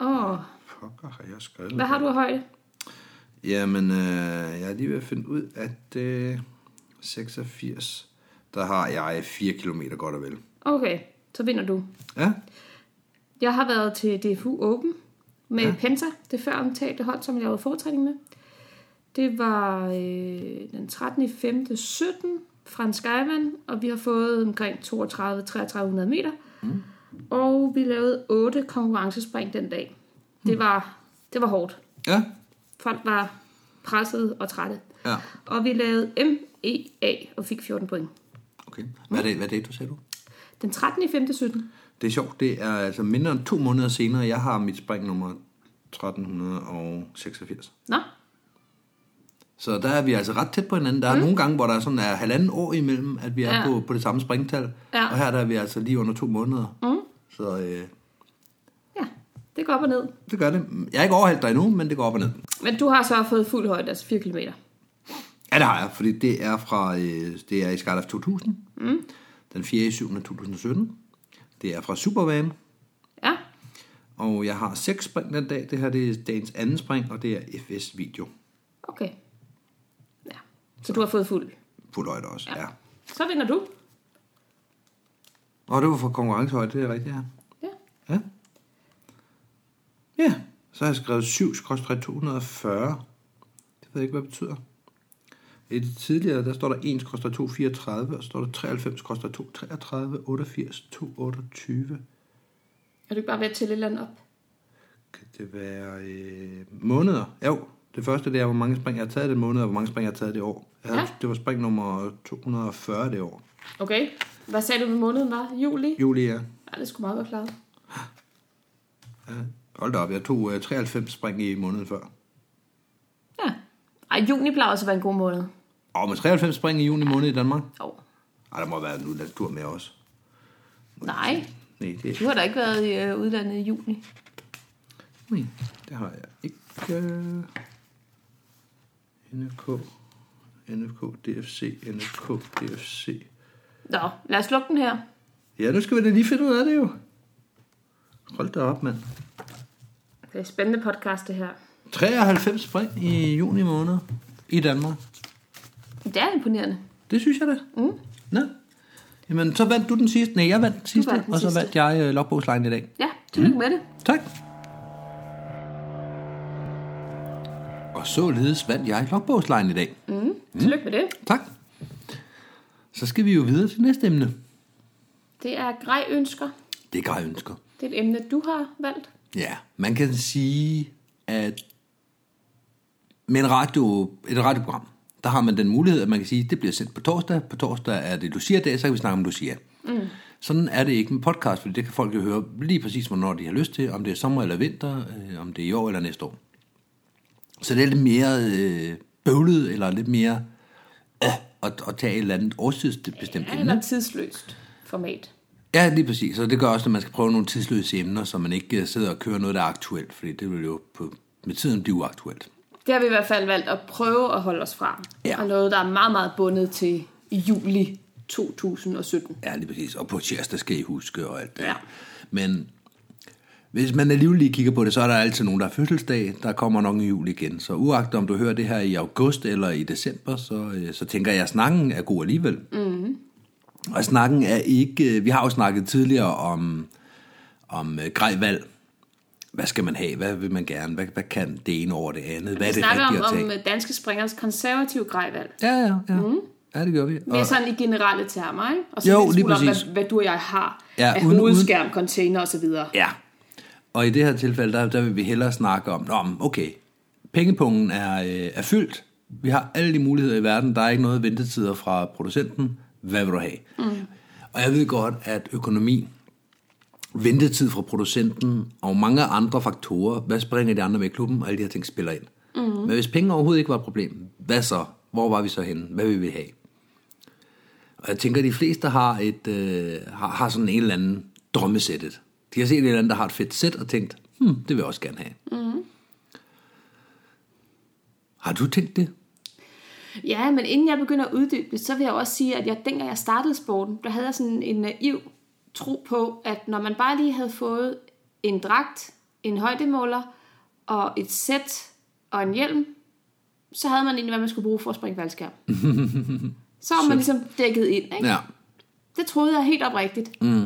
Speaker 2: Åh,
Speaker 3: Pokker har jeg skrevet.
Speaker 2: hvad har du af højde?
Speaker 3: Jamen, øh, jeg er lige ved at finde ud, at øh, 86, der har jeg 4 km godt og vel.
Speaker 2: Okay, så vinder du.
Speaker 3: Ja,
Speaker 2: Jeg har været til DFU Open med ja. Penta, det før omtalte hold, som jeg lavede foretræning med. Det var øh, den 13. i 5. 17 fra en skyvand, og vi har fået omkring 32-3300 meter. Mm. Og vi lavede otte konkurrencespring den dag. Det var, det var hårdt.
Speaker 3: ja,
Speaker 2: Folk var presset og trætte.
Speaker 3: ja.
Speaker 2: Og vi lavede MEA og fik 14 point.
Speaker 3: Okay. Hvad er det, hvad er det du sagde du?
Speaker 2: Den 13. i 5. 17.
Speaker 3: Det er sjovt, det er altså mindre end to måneder senere, jeg har mit spring nummer 1386.
Speaker 2: Nå,
Speaker 3: Så der er vi altså ret tæt på hinanden. Der er mm. nogle gange, hvor der er sådan er halvanden år imellem, at vi er
Speaker 2: Ja.
Speaker 3: ja. på, på det samme springtal.
Speaker 2: Ja.
Speaker 3: Og her der er vi altså lige under to måneder. Mm. Så øh,
Speaker 2: ja, det går op og ned.
Speaker 3: det gør det. Jeg er ikke overhældt dig endnu, men det går op og ned.
Speaker 2: Men du har så fået fuld højde, altså 4 km.
Speaker 3: Ja, det har jeg, fordi det er fra øh, det er i Skydive 2000. Mm. Den 4. 7. 2017. Det er fra Supervan.
Speaker 2: Ja,
Speaker 3: Og jeg har seks spring den dag. Det her det er dagens anden spring, og det er FS Video.
Speaker 2: okay. Ja. Så du har fået fuld.
Speaker 3: Fuld højde også, ja. ja.
Speaker 2: Så vinder du.
Speaker 3: Og det var fra konkurrencehøjde, det er rigtigt, ja.
Speaker 2: Ja.
Speaker 3: Ja. Ja, så har jeg skrevet 7 240. Det ved jeg ikke, hvad det betyder. I det tidligere, der står der 1 234, og så står der 93 233, 88 228.
Speaker 2: Er du ikke bare ved at tælle et eller andet op?
Speaker 3: Kan det være øh, måneder? Jo, det første det er, hvor mange spring jeg har taget det måned, og hvor mange spring jeg har taget det år. Jeg havde,
Speaker 2: Ja.
Speaker 3: ja. Det var spring nummer 240 det år.
Speaker 2: Okay. Hvad sagde du, med måneden var? Juli?
Speaker 3: Julia,
Speaker 2: Ja, det skulle meget godt klare.
Speaker 3: ja, hold da op, jeg tog øh, 93 spring i måneden før.
Speaker 2: Ja. Ej, juni plejer også at være en god måned.
Speaker 3: Og med 93 spring i juni måned i Danmark.
Speaker 2: Jo.
Speaker 3: Ej, der må være en udlandstur med også.
Speaker 2: Nej,
Speaker 3: Nej, det,
Speaker 2: du har da ikke været i øh, udlandet i juni.
Speaker 3: nej, det har jeg ikke. NFK, NFK, DFC, NFK, DFC.
Speaker 2: Nå, lad os lukke den her.
Speaker 3: Ja, nu skal vi da lige finde ud af det jo. Hold da op, mand.
Speaker 2: Det er et spændende podcast, det her.
Speaker 3: 93 spring i juni måned i Danmark.
Speaker 2: Det er imponerende.
Speaker 3: Det synes jeg da. Mm. Nå. Jamen, så vandt du den sidste. Nej, jeg vandt den sidste,
Speaker 2: vandt den
Speaker 3: og så
Speaker 2: sidste.
Speaker 3: vandt jeg øh, logbogslejen i dag.
Speaker 2: Ja, tillykke med det.
Speaker 3: Tak. Og således vandt jeg logbogslejen i dag.
Speaker 2: Mm. Tillykke med det.
Speaker 3: Tak. Så skal vi jo videre til næste emne.
Speaker 2: Det er grej-ønsker.
Speaker 3: Det er grejønsker.
Speaker 2: Det er et emne, du har valgt.
Speaker 3: Ja, man kan sige, at med en radio, et radioprogram, der har man den mulighed, at man kan sige, at det bliver sendt på torsdag. På torsdag er det Lucia-dag, så kan vi snakke om Lucia. Mm. Sådan er det ikke med podcast, for det kan folk jo høre lige præcis, hvornår de har lyst til, om det er sommer eller vinter, øh, om det er i år eller næste år. Så det er lidt mere øh, bøvlet, eller lidt mere øh, at, at tage et eller andet årstidsbestemt
Speaker 2: Ja,
Speaker 3: emne.
Speaker 2: eller tidsløst format.
Speaker 3: Ja, lige præcis. Og det gør også, at man skal prøve nogle tidsløse emner, så man ikke øh, sidder og kører noget, der er aktuelt, fordi det vil jo på, med tiden blive uaktuelt.
Speaker 2: Det har vi i hvert fald valgt at prøve at holde os fra.
Speaker 3: Ja.
Speaker 2: Og noget, der er meget, meget bundet til juli 2017.
Speaker 3: Ja, lige præcis. Og på tirsdag skal I huske og alt det.
Speaker 2: Ja.
Speaker 3: Men hvis man alligevel lige kigger på det, så er der altid nogen, der har fødselsdag. Der kommer nok en jul igen. Så uagtet om du hører det her i august eller i december, så, øh, så tænker jeg, at snakken er god alligevel. Mm.
Speaker 2: Mm-hmm.
Speaker 3: Og snakken er ikke... øh, Vi har jo snakket tidligere om, om øh, grejvalg. Hvad skal man have? Hvad vil man gerne? Hvad, hvad kan det ene over det andet? Hvad er
Speaker 2: Vi
Speaker 3: det
Speaker 2: snakker
Speaker 3: rigtige at
Speaker 2: om,
Speaker 3: tage?
Speaker 2: om øh, danske springers konservative grejvalg.
Speaker 3: Ja, ja, ja. Mm. Ja, det gør vi.
Speaker 2: Mere
Speaker 3: Og,
Speaker 2: sådan i generelle termer, ikke? Og så
Speaker 3: Jo,
Speaker 2: en lille
Speaker 3: lige
Speaker 2: smule om,
Speaker 3: præcis.
Speaker 2: hvad, hvad du og jeg har
Speaker 3: Ja,
Speaker 2: af
Speaker 3: uden- uden-
Speaker 2: hovedskærm, container osv.
Speaker 3: Ja. Og i det her tilfælde, der, der vil vi hellere snakke om, Nå, men okay, pengepungen er, øh, er fyldt. Vi har alle de muligheder i verden. Der er ikke noget ventetider fra producenten. Hvad vil du have? Mm. Og jeg ved godt, at økonomi, ventetid fra producenten og mange andre faktorer, hvad springer de andre med i klubben, og alle de her ting spiller ind. Mm-hmm. Men hvis penge overhovedet ikke var et problem, hvad så? Hvor var vi så henne? Hvad vil vi have? Og jeg tænker, at de fleste har, et, øh, har, har sådan en eller anden drømmesættet. De har set en eller anden, der har et fedt sæt, og tænkt, hmm, det vil jeg også gerne have. Mm-hmm. Har du tænkt det?
Speaker 2: Ja, men inden jeg begynder at uddybe det, så vil jeg også sige, at jeg, dengang jeg startede sporten, der havde jeg sådan en naiv tro på, at når man bare lige havde fået en dragt, en højdemåler og et sæt og en hjelm, så havde man egentlig, hvad man skulle bruge for at springe faldskærm. så var man ligesom dækket ind, ikke?
Speaker 3: Ja.
Speaker 2: Det troede jeg helt oprigtigt. Mm.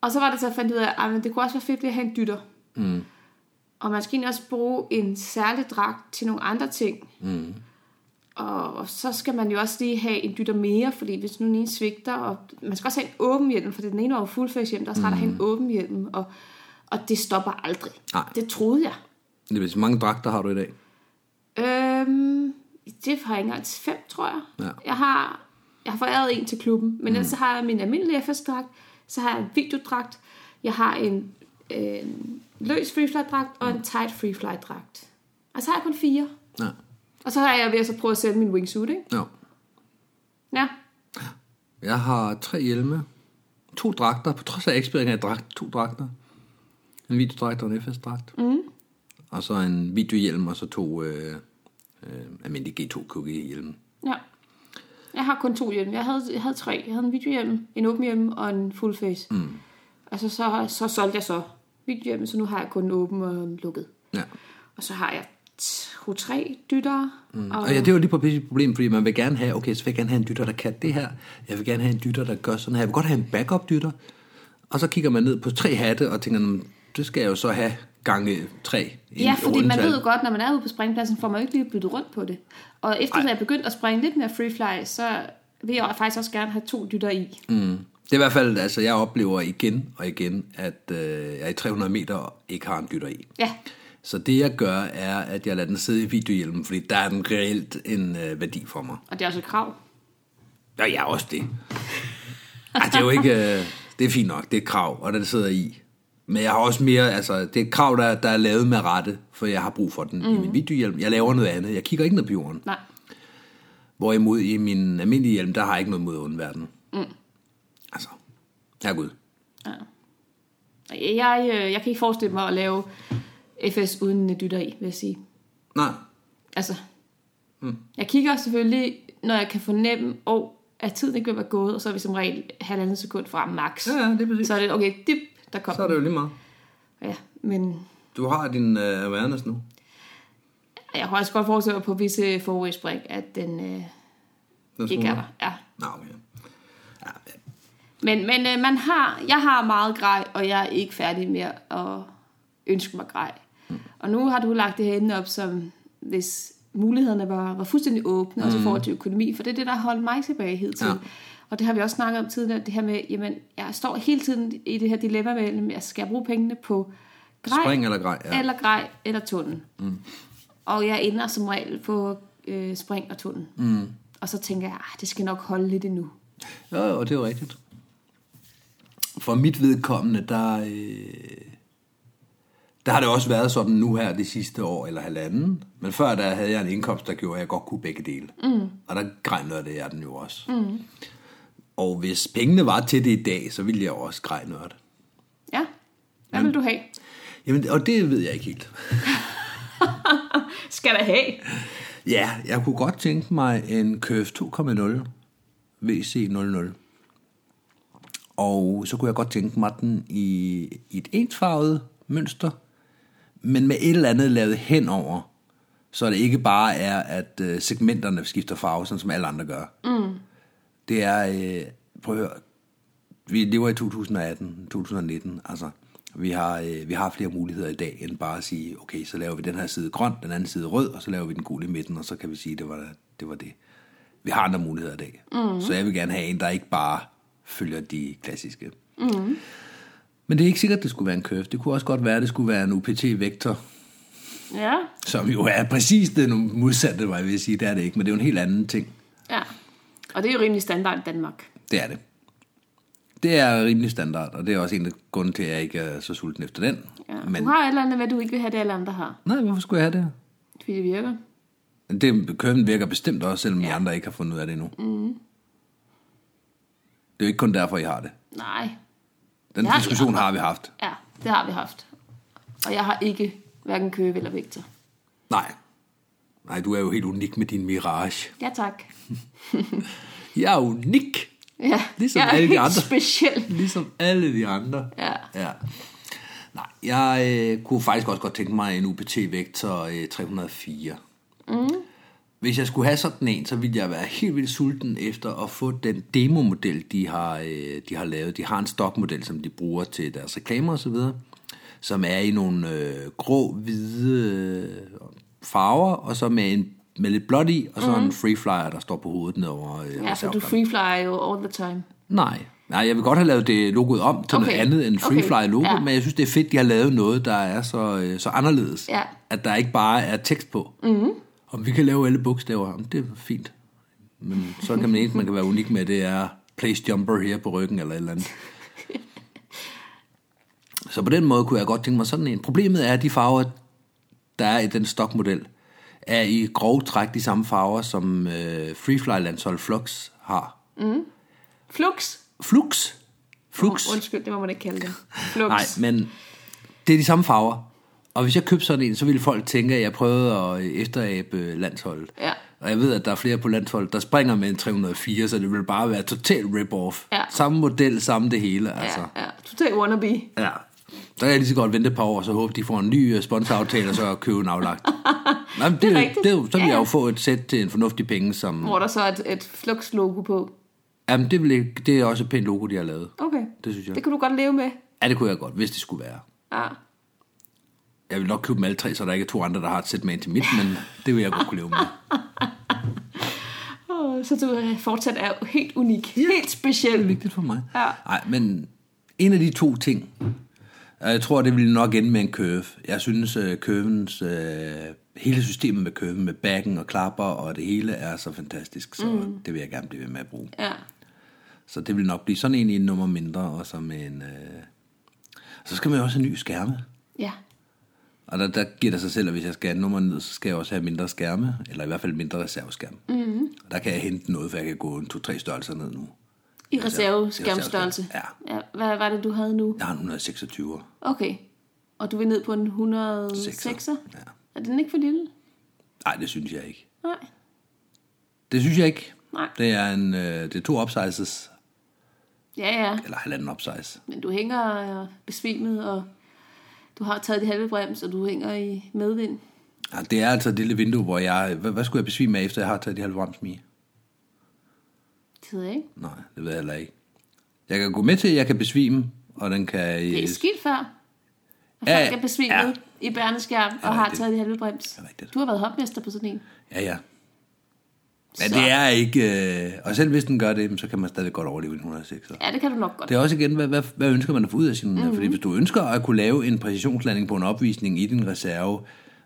Speaker 2: Og så var det så, at jeg fandt ud af, at det kunne også være fedt lige at have en dytter. Mm. Og man skal egentlig også bruge en særlig dragt til nogle andre ting. Mm. Og, og så skal man jo også lige have en dytter mere, fordi hvis nu den ene svigter, og man skal også have en åben hjelm, for den ene var jo fuldface hjelm, der skal mm. have en åben hjelm, og, og det stopper aldrig.
Speaker 3: Nej.
Speaker 2: Det troede jeg.
Speaker 3: Det vil sige, mange dragter har du i dag.
Speaker 2: Øhm, det har jeg ikke engang fem, tror jeg.
Speaker 3: Ja.
Speaker 2: Jeg har, jeg har foræret en til klubben, men mm. ellers så har jeg min almindelige FS-dragt, så har jeg en videodragt, jeg har en, øh, løs freefly-dragt og en tight freefly-dragt. Og så har jeg kun fire.
Speaker 3: Ja.
Speaker 2: Og så har jeg ved at så prøve at sælge min wingsuit, ikke?
Speaker 3: ja.
Speaker 2: Ja.
Speaker 3: Jeg har tre hjelme, to dragter, på trods af eksperimentet har jeg dragt, to dragter. En videodragt og en FS-dragt. Mm. Og så en videohjelm, og så to øh, øh, almindelige G2 QG-hjelme.
Speaker 2: Ja. Jeg har kun to hjelme. Jeg havde, jeg havde tre. Jeg havde en videohjelm, en åben hjelm og en full face. Mm. Altså, så, så solgte jeg så videohjelmen, så nu har jeg kun en åben og en lukket.
Speaker 3: Ja.
Speaker 2: Og så har jeg to-tre dytter. Mm. Og,
Speaker 3: Og ja, det var lige på et problem, fordi man vil gerne have, okay, så vil jeg gerne have en dytter, der kan det her. Jeg vil gerne have en dytter, der gør sådan her. Jeg vil godt have en backup-dytter. Og så kigger man ned på tre hatte og tænker, "Nå, det skal jeg jo så have gange tre. i
Speaker 2: ja, fordi man
Speaker 3: rundetal."
Speaker 2: ved jo godt, når man er ude på springpladsen, får man jo ikke lige byttet rundt på det. Og efter jeg begyndte at springe lidt mere freefly, så vil jeg faktisk også gerne have to dytter i.
Speaker 3: Mm. Det er i hvert fald, altså jeg oplever igen og igen, at øh, jeg i 300 meter ikke har en dytter i.
Speaker 2: Ja,
Speaker 3: Så det jeg gør, er, at jeg lader den sidde i videohjelmen, fordi der er den reelt en øh, værdi for mig.
Speaker 2: og det er også et krav.
Speaker 3: Og jeg er også det. Ej, det er jo ikke... Øh, det er fint nok, det er et krav, og den sidder i. Men jeg har også mere, altså, det er et krav, der, der er lavet med rette, for jeg har brug for den mm. i min videohjelm. Jeg laver noget andet, jeg kigger ikke ned på jorden.
Speaker 2: Nej.
Speaker 3: Hvorimod i min almindelige hjelm, der har jeg ikke noget mod underverdenen. Mm. Altså, herregud.
Speaker 2: Jeg, øh, jeg kan ikke forestille mig at lave FS uden en dytter i, vil jeg sige.
Speaker 3: Nej,
Speaker 2: Altså, mm. jeg kigger selvfølgelig, når jeg kan fornemme, og at tiden ikke vil være gået, og så er vi som regel halvandet sekund fra max.
Speaker 3: Ja, ja, det er præcis.
Speaker 2: Så er det, okay, dip, der kom.
Speaker 3: så er det jo lige meget.
Speaker 2: Ja, men
Speaker 3: Du har din øh, awareness nu.
Speaker 2: jeg kan også godt forestille mig på visse forudspring, at den øh,
Speaker 3: Den
Speaker 2: ikke er
Speaker 3: smuldrer.
Speaker 2: der. Ja.
Speaker 3: Nå, okay.
Speaker 2: Men, men øh, man har, jeg har meget grej, og jeg er ikke færdig med at ønske mig grej. Mm. Og nu har du lagt det herinde op, som hvis mulighederne var, var fuldstændig åbne, mm. også i forhold til økonomi, for det er det, der har holdt mig tilbage hele tiden.
Speaker 3: Ja.
Speaker 2: Ja. Og det har vi også snakket om tidligere, det her med, jamen, jeg står hele tiden i det her dilemma mellem, jeg skal bruge pengene på grej,
Speaker 3: Spring eller grej, ja.
Speaker 2: ja. eller grej, eller tunnel. Mm. Og jeg ender som regel på øh, spring og tunnel. Mm. Og så tænker jeg, "Ah, det skal nok holde lidt endnu.
Speaker 3: Ja, og det er jo rigtigt. For mit vedkommende, der, øh, der har det også været sådan nu her det sidste år eller halvanden. Men før der havde jeg en indkomst, der gjorde, at jeg godt kunne begge dele. Mm. Og der grejnørdede jeg den jo også. Mm. Og hvis pengene var til det i dag, så ville jeg også grejnørde.
Speaker 2: Ja, hvad vil du have?
Speaker 3: Jamen, og det ved jeg ikke helt.
Speaker 2: Skal der have?
Speaker 3: Ja, jeg kunne godt tænke mig en Curve 2.0 VC00. Og så kunne jeg godt tænke mig den i, i et ensfarvet mønster, men med et eller andet lavet henover, så det ikke bare er, at øh, segmenterne skifter farve, sådan som alle andre gør. Mm. Det er, øh, prøv at høre, vi lever i 2018, 2019, altså vi har, øh, vi har flere muligheder i dag, end bare at sige, okay, så laver vi den her side grøn, den anden side rød, og så laver vi den gule i midten, og så kan vi sige, det var det. Var det. Vi har andre muligheder i dag. Mm. Så jeg vil gerne have en, der ikke bare følger de klassiske. Mm. Men det er ikke sikkert, det skulle være en curve. Det kunne også godt være, det skulle være en UPT-vektor,
Speaker 2: Ja,
Speaker 3: som jo er præcis den modsatte vej, vil jeg sige. Det er det ikke, men det er jo en helt anden ting.
Speaker 2: ja. Og det er jo rimelig standard i Danmark.
Speaker 3: Det er det. det er rimelig standard, og det er også en af grunden til, at jeg ikke er så sulten efter den.
Speaker 2: Ja. Men...
Speaker 3: Men
Speaker 2: Du har et eller andet, hvad du ikke vil have, det alle andre har.
Speaker 3: nej, hvorfor skulle jeg have det?
Speaker 2: Fordi det virker.
Speaker 3: Det køn virker bestemt også, selvom ja. I andre ikke har fundet ud af det endnu. Mm. Det er jo ikke kun derfor, I har det.
Speaker 2: Nej.
Speaker 3: Den
Speaker 2: Ja,
Speaker 3: ja, diskussion ja. har vi haft.
Speaker 2: Ja, det har vi haft. Og jeg har ikke hverken Køge eller Victor.
Speaker 3: Nej. Nej, du er jo helt unik med din Mirage.
Speaker 2: Ja, tak.
Speaker 3: Jeg er unik,
Speaker 2: Ja.
Speaker 3: Ligesom
Speaker 2: jeg er
Speaker 3: alle de
Speaker 2: helt
Speaker 3: andre.
Speaker 2: speciel.
Speaker 3: ligesom alle de andre.
Speaker 2: Ja.
Speaker 3: ja. Nej, jeg øh, kunne faktisk også godt tænke mig en UPT-vektor øh, 304.
Speaker 2: Mm.
Speaker 3: Hvis jeg skulle have sådan en, så ville jeg være helt vildt sulten efter at få den demomodel, de har, øh, de har lavet. De har en stokmodel, som de bruger til deres reklamer osv., som er i nogle øh, grå, hvide øh, farver, og så med, en, med lidt blåt i, og så mm. en free flyer, der står på hovedet nedover øh,
Speaker 2: Ja, for du
Speaker 3: reservebladet.
Speaker 2: freeflyer jo all the time.
Speaker 3: Nej. Nej, jeg vil godt have lavet det logoet om til okay. noget
Speaker 2: Okay.
Speaker 3: andet end
Speaker 2: Okay.
Speaker 3: Freefly logo,
Speaker 2: Ja.
Speaker 3: men jeg synes, det er fedt, de har lavet noget, der er så, øh, så anderledes.
Speaker 2: Ja. Mhm.
Speaker 3: At der ikke bare er tekst på. Mm-hmm. Om vi kan lave alle bogstaver, jamen, det er fint. Men så kan man ikke, man kan være unik med, det er place jumper her på ryggen eller et eller andet. Så på den måde kunne jeg godt tænke mig sådan en. Problemet er, at de farver, der er i den stokmodel, er i grov træk de samme farver, som øh, Freefly-landshold Flux har.
Speaker 2: Flux.
Speaker 3: Flux. Flux.
Speaker 2: Oh, undskyld, det må man ikke kalde det. Flux.
Speaker 3: Nej, men det er de samme farver. Og hvis jeg købte sådan en, så ville folk tænke, at jeg prøvede at efterabe øh, landsholdet.
Speaker 2: Ja.
Speaker 3: Og jeg ved, at der er flere på landsholdet, der springer med en 304, så det ville bare være totalt rip-off.
Speaker 2: Ja.
Speaker 3: Samme model, samme det hele, ja. altså.
Speaker 2: Ja, ja. Total wannabe.
Speaker 3: Ja. Så kan jeg lige så godt vente et par år, og så håbe, de får en ny øh, sponsoraftale, og så købe en aflagt. Nej, men det,
Speaker 2: Det er
Speaker 3: det,
Speaker 2: rigtigt.
Speaker 3: det, er jo- så vil
Speaker 2: Ja,
Speaker 3: jeg jo
Speaker 2: ja.
Speaker 3: få et sæt til en fornuftig penge, som...
Speaker 2: Hvor der så er et, et Flux-logo på.
Speaker 3: Jamen, det, vil, ikke- det er også et pænt logo, de har lavet.
Speaker 2: Okay.
Speaker 3: Det synes jeg.
Speaker 2: Det kan du godt leve med.
Speaker 3: Ja, det kunne jeg godt, hvis det skulle være.
Speaker 2: Ja.
Speaker 3: Jeg vil nok købe dem alle tre, så der ikke er to andre, der har et sæt med ind til mit, men det vil jeg godt kunne leve med.
Speaker 2: Åh, Så du øh, fortsat er helt unik. Helt speciel.
Speaker 3: Vigtigt for mig.
Speaker 2: Ja.
Speaker 3: Nej, men en af de to ting, og jeg tror, det ville nok ende med en curve. Jeg synes, uh, curvens, uh, hele systemet med curven, med backen og klapper og det hele, er så fantastisk, så mm. det vil jeg gerne blive ved med at bruge.
Speaker 2: Ja.
Speaker 3: Så det vil nok blive sådan en i en nummer mindre, og som en... Uh... Så skal man jo også have ny skærme.
Speaker 2: Ja.
Speaker 3: Og der, der giver det sig selv, at hvis jeg skal have nummeret ned, så skal jeg også have mindre skærme, eller i hvert fald mindre reserveskærme.
Speaker 2: Mhm.
Speaker 3: Mm-hmm. Og der kan jeg hente noget, for jeg kan gå en to-tre størrelser ned nu.
Speaker 2: I
Speaker 3: Altså,
Speaker 2: reserve
Speaker 3: reserveskærmstørrelse.
Speaker 2: skærmstørrelse. ja. Hvad var det, du havde nu?
Speaker 3: Jeg har en 126.
Speaker 2: Okay. Og du vil ned på en 106'er?
Speaker 3: Sekser, ja.
Speaker 2: Er den ikke for lille?
Speaker 3: Nej, det synes jeg ikke.
Speaker 2: Nej.
Speaker 3: Det synes jeg ikke.
Speaker 2: Nej.
Speaker 3: Det er, en, øh, det er to upsizes,
Speaker 2: Ja, ja.
Speaker 3: eller halvanden upsize.
Speaker 2: Men du hænger øh, besvimet, og du har taget det halve brems, og du hænger i medvind.
Speaker 3: Ja, det er altså et lille vindue, hvor jeg... Hvad, hvad skulle jeg besvime af, efter jeg har taget de halve rams med?
Speaker 2: Det ved jeg ikke.
Speaker 3: Nej, det ved jeg heller ikke. Jeg kan gå med til, at jeg kan besvime, og den kan... øh,
Speaker 2: Det er skidt før. Og
Speaker 3: Ja,
Speaker 2: folk er besvimet
Speaker 3: ja.
Speaker 2: ja. i bærneskærm og har
Speaker 3: rigtigt.
Speaker 2: taget det halve brems.
Speaker 3: er rigtigt.
Speaker 2: Du har været hopmester på sådan en.
Speaker 3: Ja, ja. Men
Speaker 2: Så.
Speaker 3: det er ikke... Øh, og selv hvis den gør det, jamen, så kan man stadig godt overleve en 106.
Speaker 2: Ja, det kan du nok godt.
Speaker 3: Det er også igen, hvad, hvad, hvad ønsker man at få ud af sin...
Speaker 2: Mhm.
Speaker 3: Mm-hmm. Fordi hvis du ønsker at kunne lave en præcisionslanding på en opvisning i din reserve,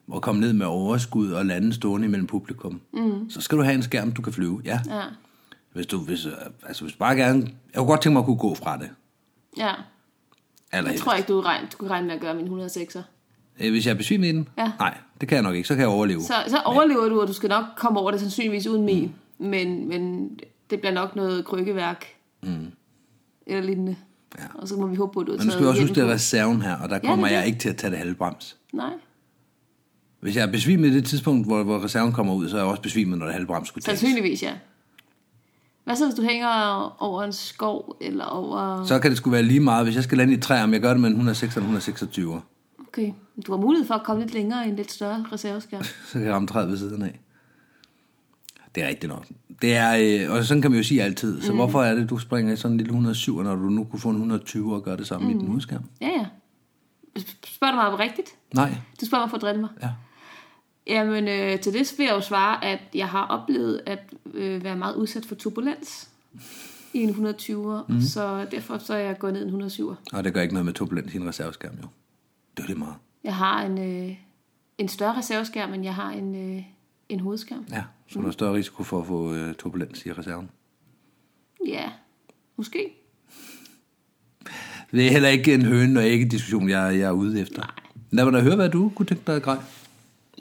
Speaker 3: og komme ned med overskud og lande stående imellem publikum,
Speaker 2: Mhm.
Speaker 3: mm. så skal du have en skærm, du kan flyve. Ja.
Speaker 2: Ja.
Speaker 3: Hvis du, hvis, øh, altså, hvis du bare gerne... Jeg kunne godt tænke mig at kunne gå fra det.
Speaker 2: ja.
Speaker 3: Eller,
Speaker 2: Jeg tror ikke, du, regn, du kunne regne med at gøre min 106'er.
Speaker 3: Øh, Hvis jeg er besvimet i den?
Speaker 2: Ja.
Speaker 3: Nej, det kan jeg nok ikke. Så kan jeg overleve.
Speaker 2: Så, så overlever du, og du skal nok komme over det sandsynligvis uden min.
Speaker 3: Mm.
Speaker 2: Men, men det bliver nok noget krykkeværk. Mm. Eller lignende. Ja. Og så må vi håbe på, at du har
Speaker 3: Men nu skal jeg også
Speaker 2: hjelm
Speaker 3: huske, det
Speaker 2: på.
Speaker 3: er reserven her, og der
Speaker 2: er
Speaker 3: kommer
Speaker 2: det.
Speaker 3: jeg ikke til at tage det halve brems.
Speaker 2: Nej.
Speaker 3: Hvis jeg er besvimet i det tidspunkt, hvor, hvor reserven kommer ud, så er jeg også besvimet, når det halve brems skulle tages.
Speaker 2: Sandsynligvis, ja. Hvad så, hvis du hænger over en skov, eller over...
Speaker 3: Så kan det sgu være lige meget, hvis jeg skal lande i et træ, om jeg gør det med en 106 eller 126.
Speaker 2: Okay, du har mulighed for at komme lidt længere i en lidt større reserveskærm.
Speaker 3: Så kan jeg ramme træet ved siden af. Det er rigtigt nok. Det er, øh, og sådan kan man jo sige altid. Så mm. hvorfor er det, du springer i sådan en lille 107, når du nu kunne få en 120 og gøre det samme mm. i den udskærm?
Speaker 2: Ja, ja. Sp- Spørger du mig om rigtigt?
Speaker 3: Nej.
Speaker 2: Du spørger mig for at drille mig.
Speaker 3: Ja.
Speaker 2: Jamen, øh, til det vil jeg jo svare, at jeg har oplevet at øh, være meget udsat for turbulens i en 120'er, mm. så derfor så er jeg gået ned i en 107'er.
Speaker 3: Og det gør ikke noget med turbulens i en reserveskærm, jo. Det er det meget.
Speaker 2: Jeg har en, øh, en større reserveskærm, men jeg har en, øh, en hovedskærm.
Speaker 3: Ja, så mm. der er større risiko for at få øh, turbulens i reserven.
Speaker 2: Ja, måske.
Speaker 3: Det er heller ikke en høne og ikke diskussion, jeg, jeg er ude efter. Nej. Lad mig da høre, hvad du kunne tænke dig at grej.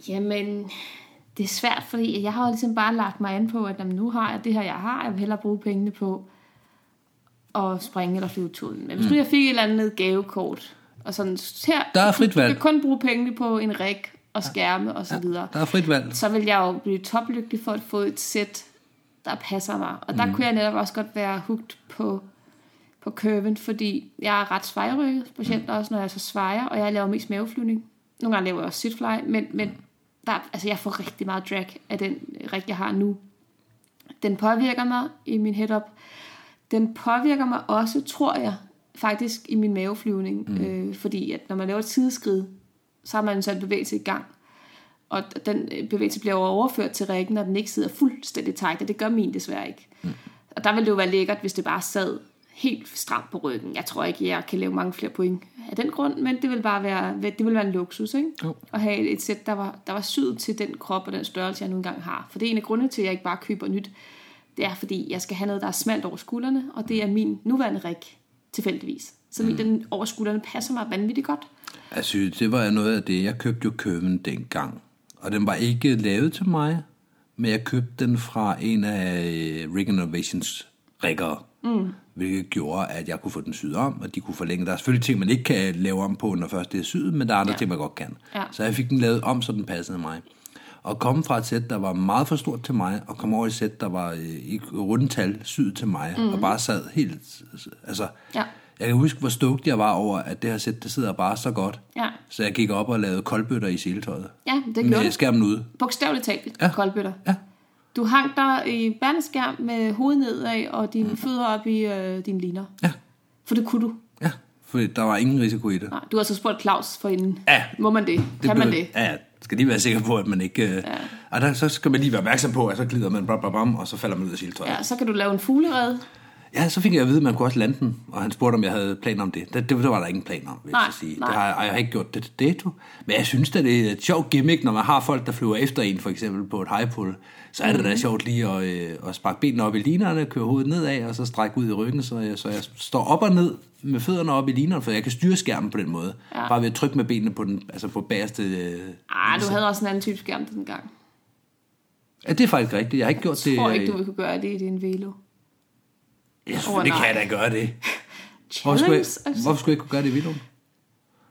Speaker 2: Jamen, det er svært, fordi jeg har jo ligesom bare lagt mig an på, at jamen, nu har jeg det her, jeg har. Jeg vil hellere bruge pengene på at springe eller flyve tuden. Men hvis nu jeg fik et eller andet gavekort, og sådan, her,
Speaker 3: Mm. Der er
Speaker 2: du-
Speaker 3: frit valg.
Speaker 2: Du kan kun bruge pengene på en ræk og skærme og så videre.
Speaker 3: Der er frit valg.
Speaker 2: så vil jeg jo blive toplykkelig for at få et sæt, der passer mig. Og der mm. kunne jeg netop også godt være hugt på, på curven, fordi jeg er ret svejrykket, specielt mm. også når jeg så svejer, og jeg laver mest maveflyvning. Nogle gange laver jeg også sitfly, men, men der, er- altså jeg får rigtig meget drag af den rig, jeg har nu. Den påvirker mig i min head-up. Den påvirker mig også, tror jeg, faktisk i min maveflyvning, mm. øh, fordi at når man laver et sideskrid, så har man så en bevægelse i gang, og den øh, bevægelse bliver jo overført til rækken, når den ikke sidder fuldstændig tight, og det gør min desværre ikke. Mm. Og der ville det jo være lækkert, hvis det bare sad helt stramt på ryggen. Jeg tror ikke, jeg kan lave mange flere point af den grund, men det vil bare være, det vil være en luksus, ikke?
Speaker 3: Jo.
Speaker 2: At have et, et sæt, der var, der var syet til den krop og den størrelse, jeg nu engang har. For det er en af grundene til, at jeg ikke bare køber nyt. Det er, fordi jeg skal have noget, der er smalt over skuldrene, og det er min nuværende rig tilfældigvis. Så mm. den over skuldrene passer mig vanvittigt godt.
Speaker 3: Altså, det var noget af det. Jeg købte jo køben dengang. Og den var ikke lavet til mig, men jeg købte den fra en af øh, Rig Innovations riggere. Mm. Hvilket gjorde, at jeg kunne få den syet om, og de kunne forlænge. Der er selvfølgelig ting, man ikke kan lave om på, når først det er syet, men der er andre ja. ting, man godt kan.
Speaker 2: Ja.
Speaker 3: Så jeg fik den lavet om, så den passede mig. Og komme fra et sæt, der var meget for stort til mig, og komme over i et sæt, der var øh, i rundtal syet til mig, mm. og bare sad helt... Altså,
Speaker 2: Ja.
Speaker 3: jeg kan huske, hvor stoked jeg var over, at det her sæt, det sidder bare så godt.
Speaker 2: Ja.
Speaker 3: Så jeg gik op og lavede koldbøtter i seletøjet.
Speaker 2: Ja, det gjorde
Speaker 3: Med
Speaker 2: det.
Speaker 3: skærmen ude.
Speaker 2: Bogstaveligt talt,
Speaker 3: Ja.
Speaker 2: ja. koldbøtter.
Speaker 3: Ja.
Speaker 2: Du hang der i bandskærm med hovedet nedad og dine mm. fødder op i øh, dine liner.
Speaker 3: Ja.
Speaker 2: For det kunne du.
Speaker 3: Ja. Fordi der var ingen risiko i det.
Speaker 2: Nej, du har så spurgt Claus for inden.
Speaker 3: Ja.
Speaker 2: Må man det? det kan man
Speaker 3: blev-
Speaker 2: det?
Speaker 3: Ja, ja. Skal lige være sikker på, at man ikke... Ja. Og der, så skal man lige være opmærksom på, at så glider man bam, bam, bam, og så falder man ud af seletøjet. Ja.
Speaker 2: Ja, så kan du lave en fuglerede.
Speaker 3: ja, så fik jeg at vide, at man kunne også lande den, og han spurgte, om jeg havde planer om det. Det, det, det var der ingen planer om, vil
Speaker 2: Nej,
Speaker 3: jeg så sige.
Speaker 2: nej.
Speaker 3: Det har, og jeg har ikke gjort det til dato. Men jeg synes, at det er et sjovt gimmick, når man har folk, der flyver efter en, for eksempel på et high pull. Så er det
Speaker 2: Mhm.
Speaker 3: da sjovt lige at, øh, at sparke benene op i linerne, køre hovedet nedad, og så strække ud i ryggen, så jeg, så jeg står op og ned med fødderne op i linerne, for jeg kan styre skærmen på den måde. Ja. Bare ved at trykke med benene på den, altså på bagerste... Øh,
Speaker 2: Ah, du havde også en anden type skærm dengang.
Speaker 3: ja, det er faktisk rigtigt. Jeg har ikke gjort det...
Speaker 2: Jeg tror ikke,
Speaker 3: øh,
Speaker 2: du ville kunne gøre det i din velo.
Speaker 3: Ja, selvfølgelig
Speaker 2: Åh,
Speaker 3: oh,
Speaker 2: nej.
Speaker 3: kan jeg da gøre det. Hvorfor
Speaker 2: Challenge,
Speaker 3: skulle, jeg,
Speaker 2: altså,
Speaker 3: hvorfor skulle jeg ikke kunne gøre det i Vildum?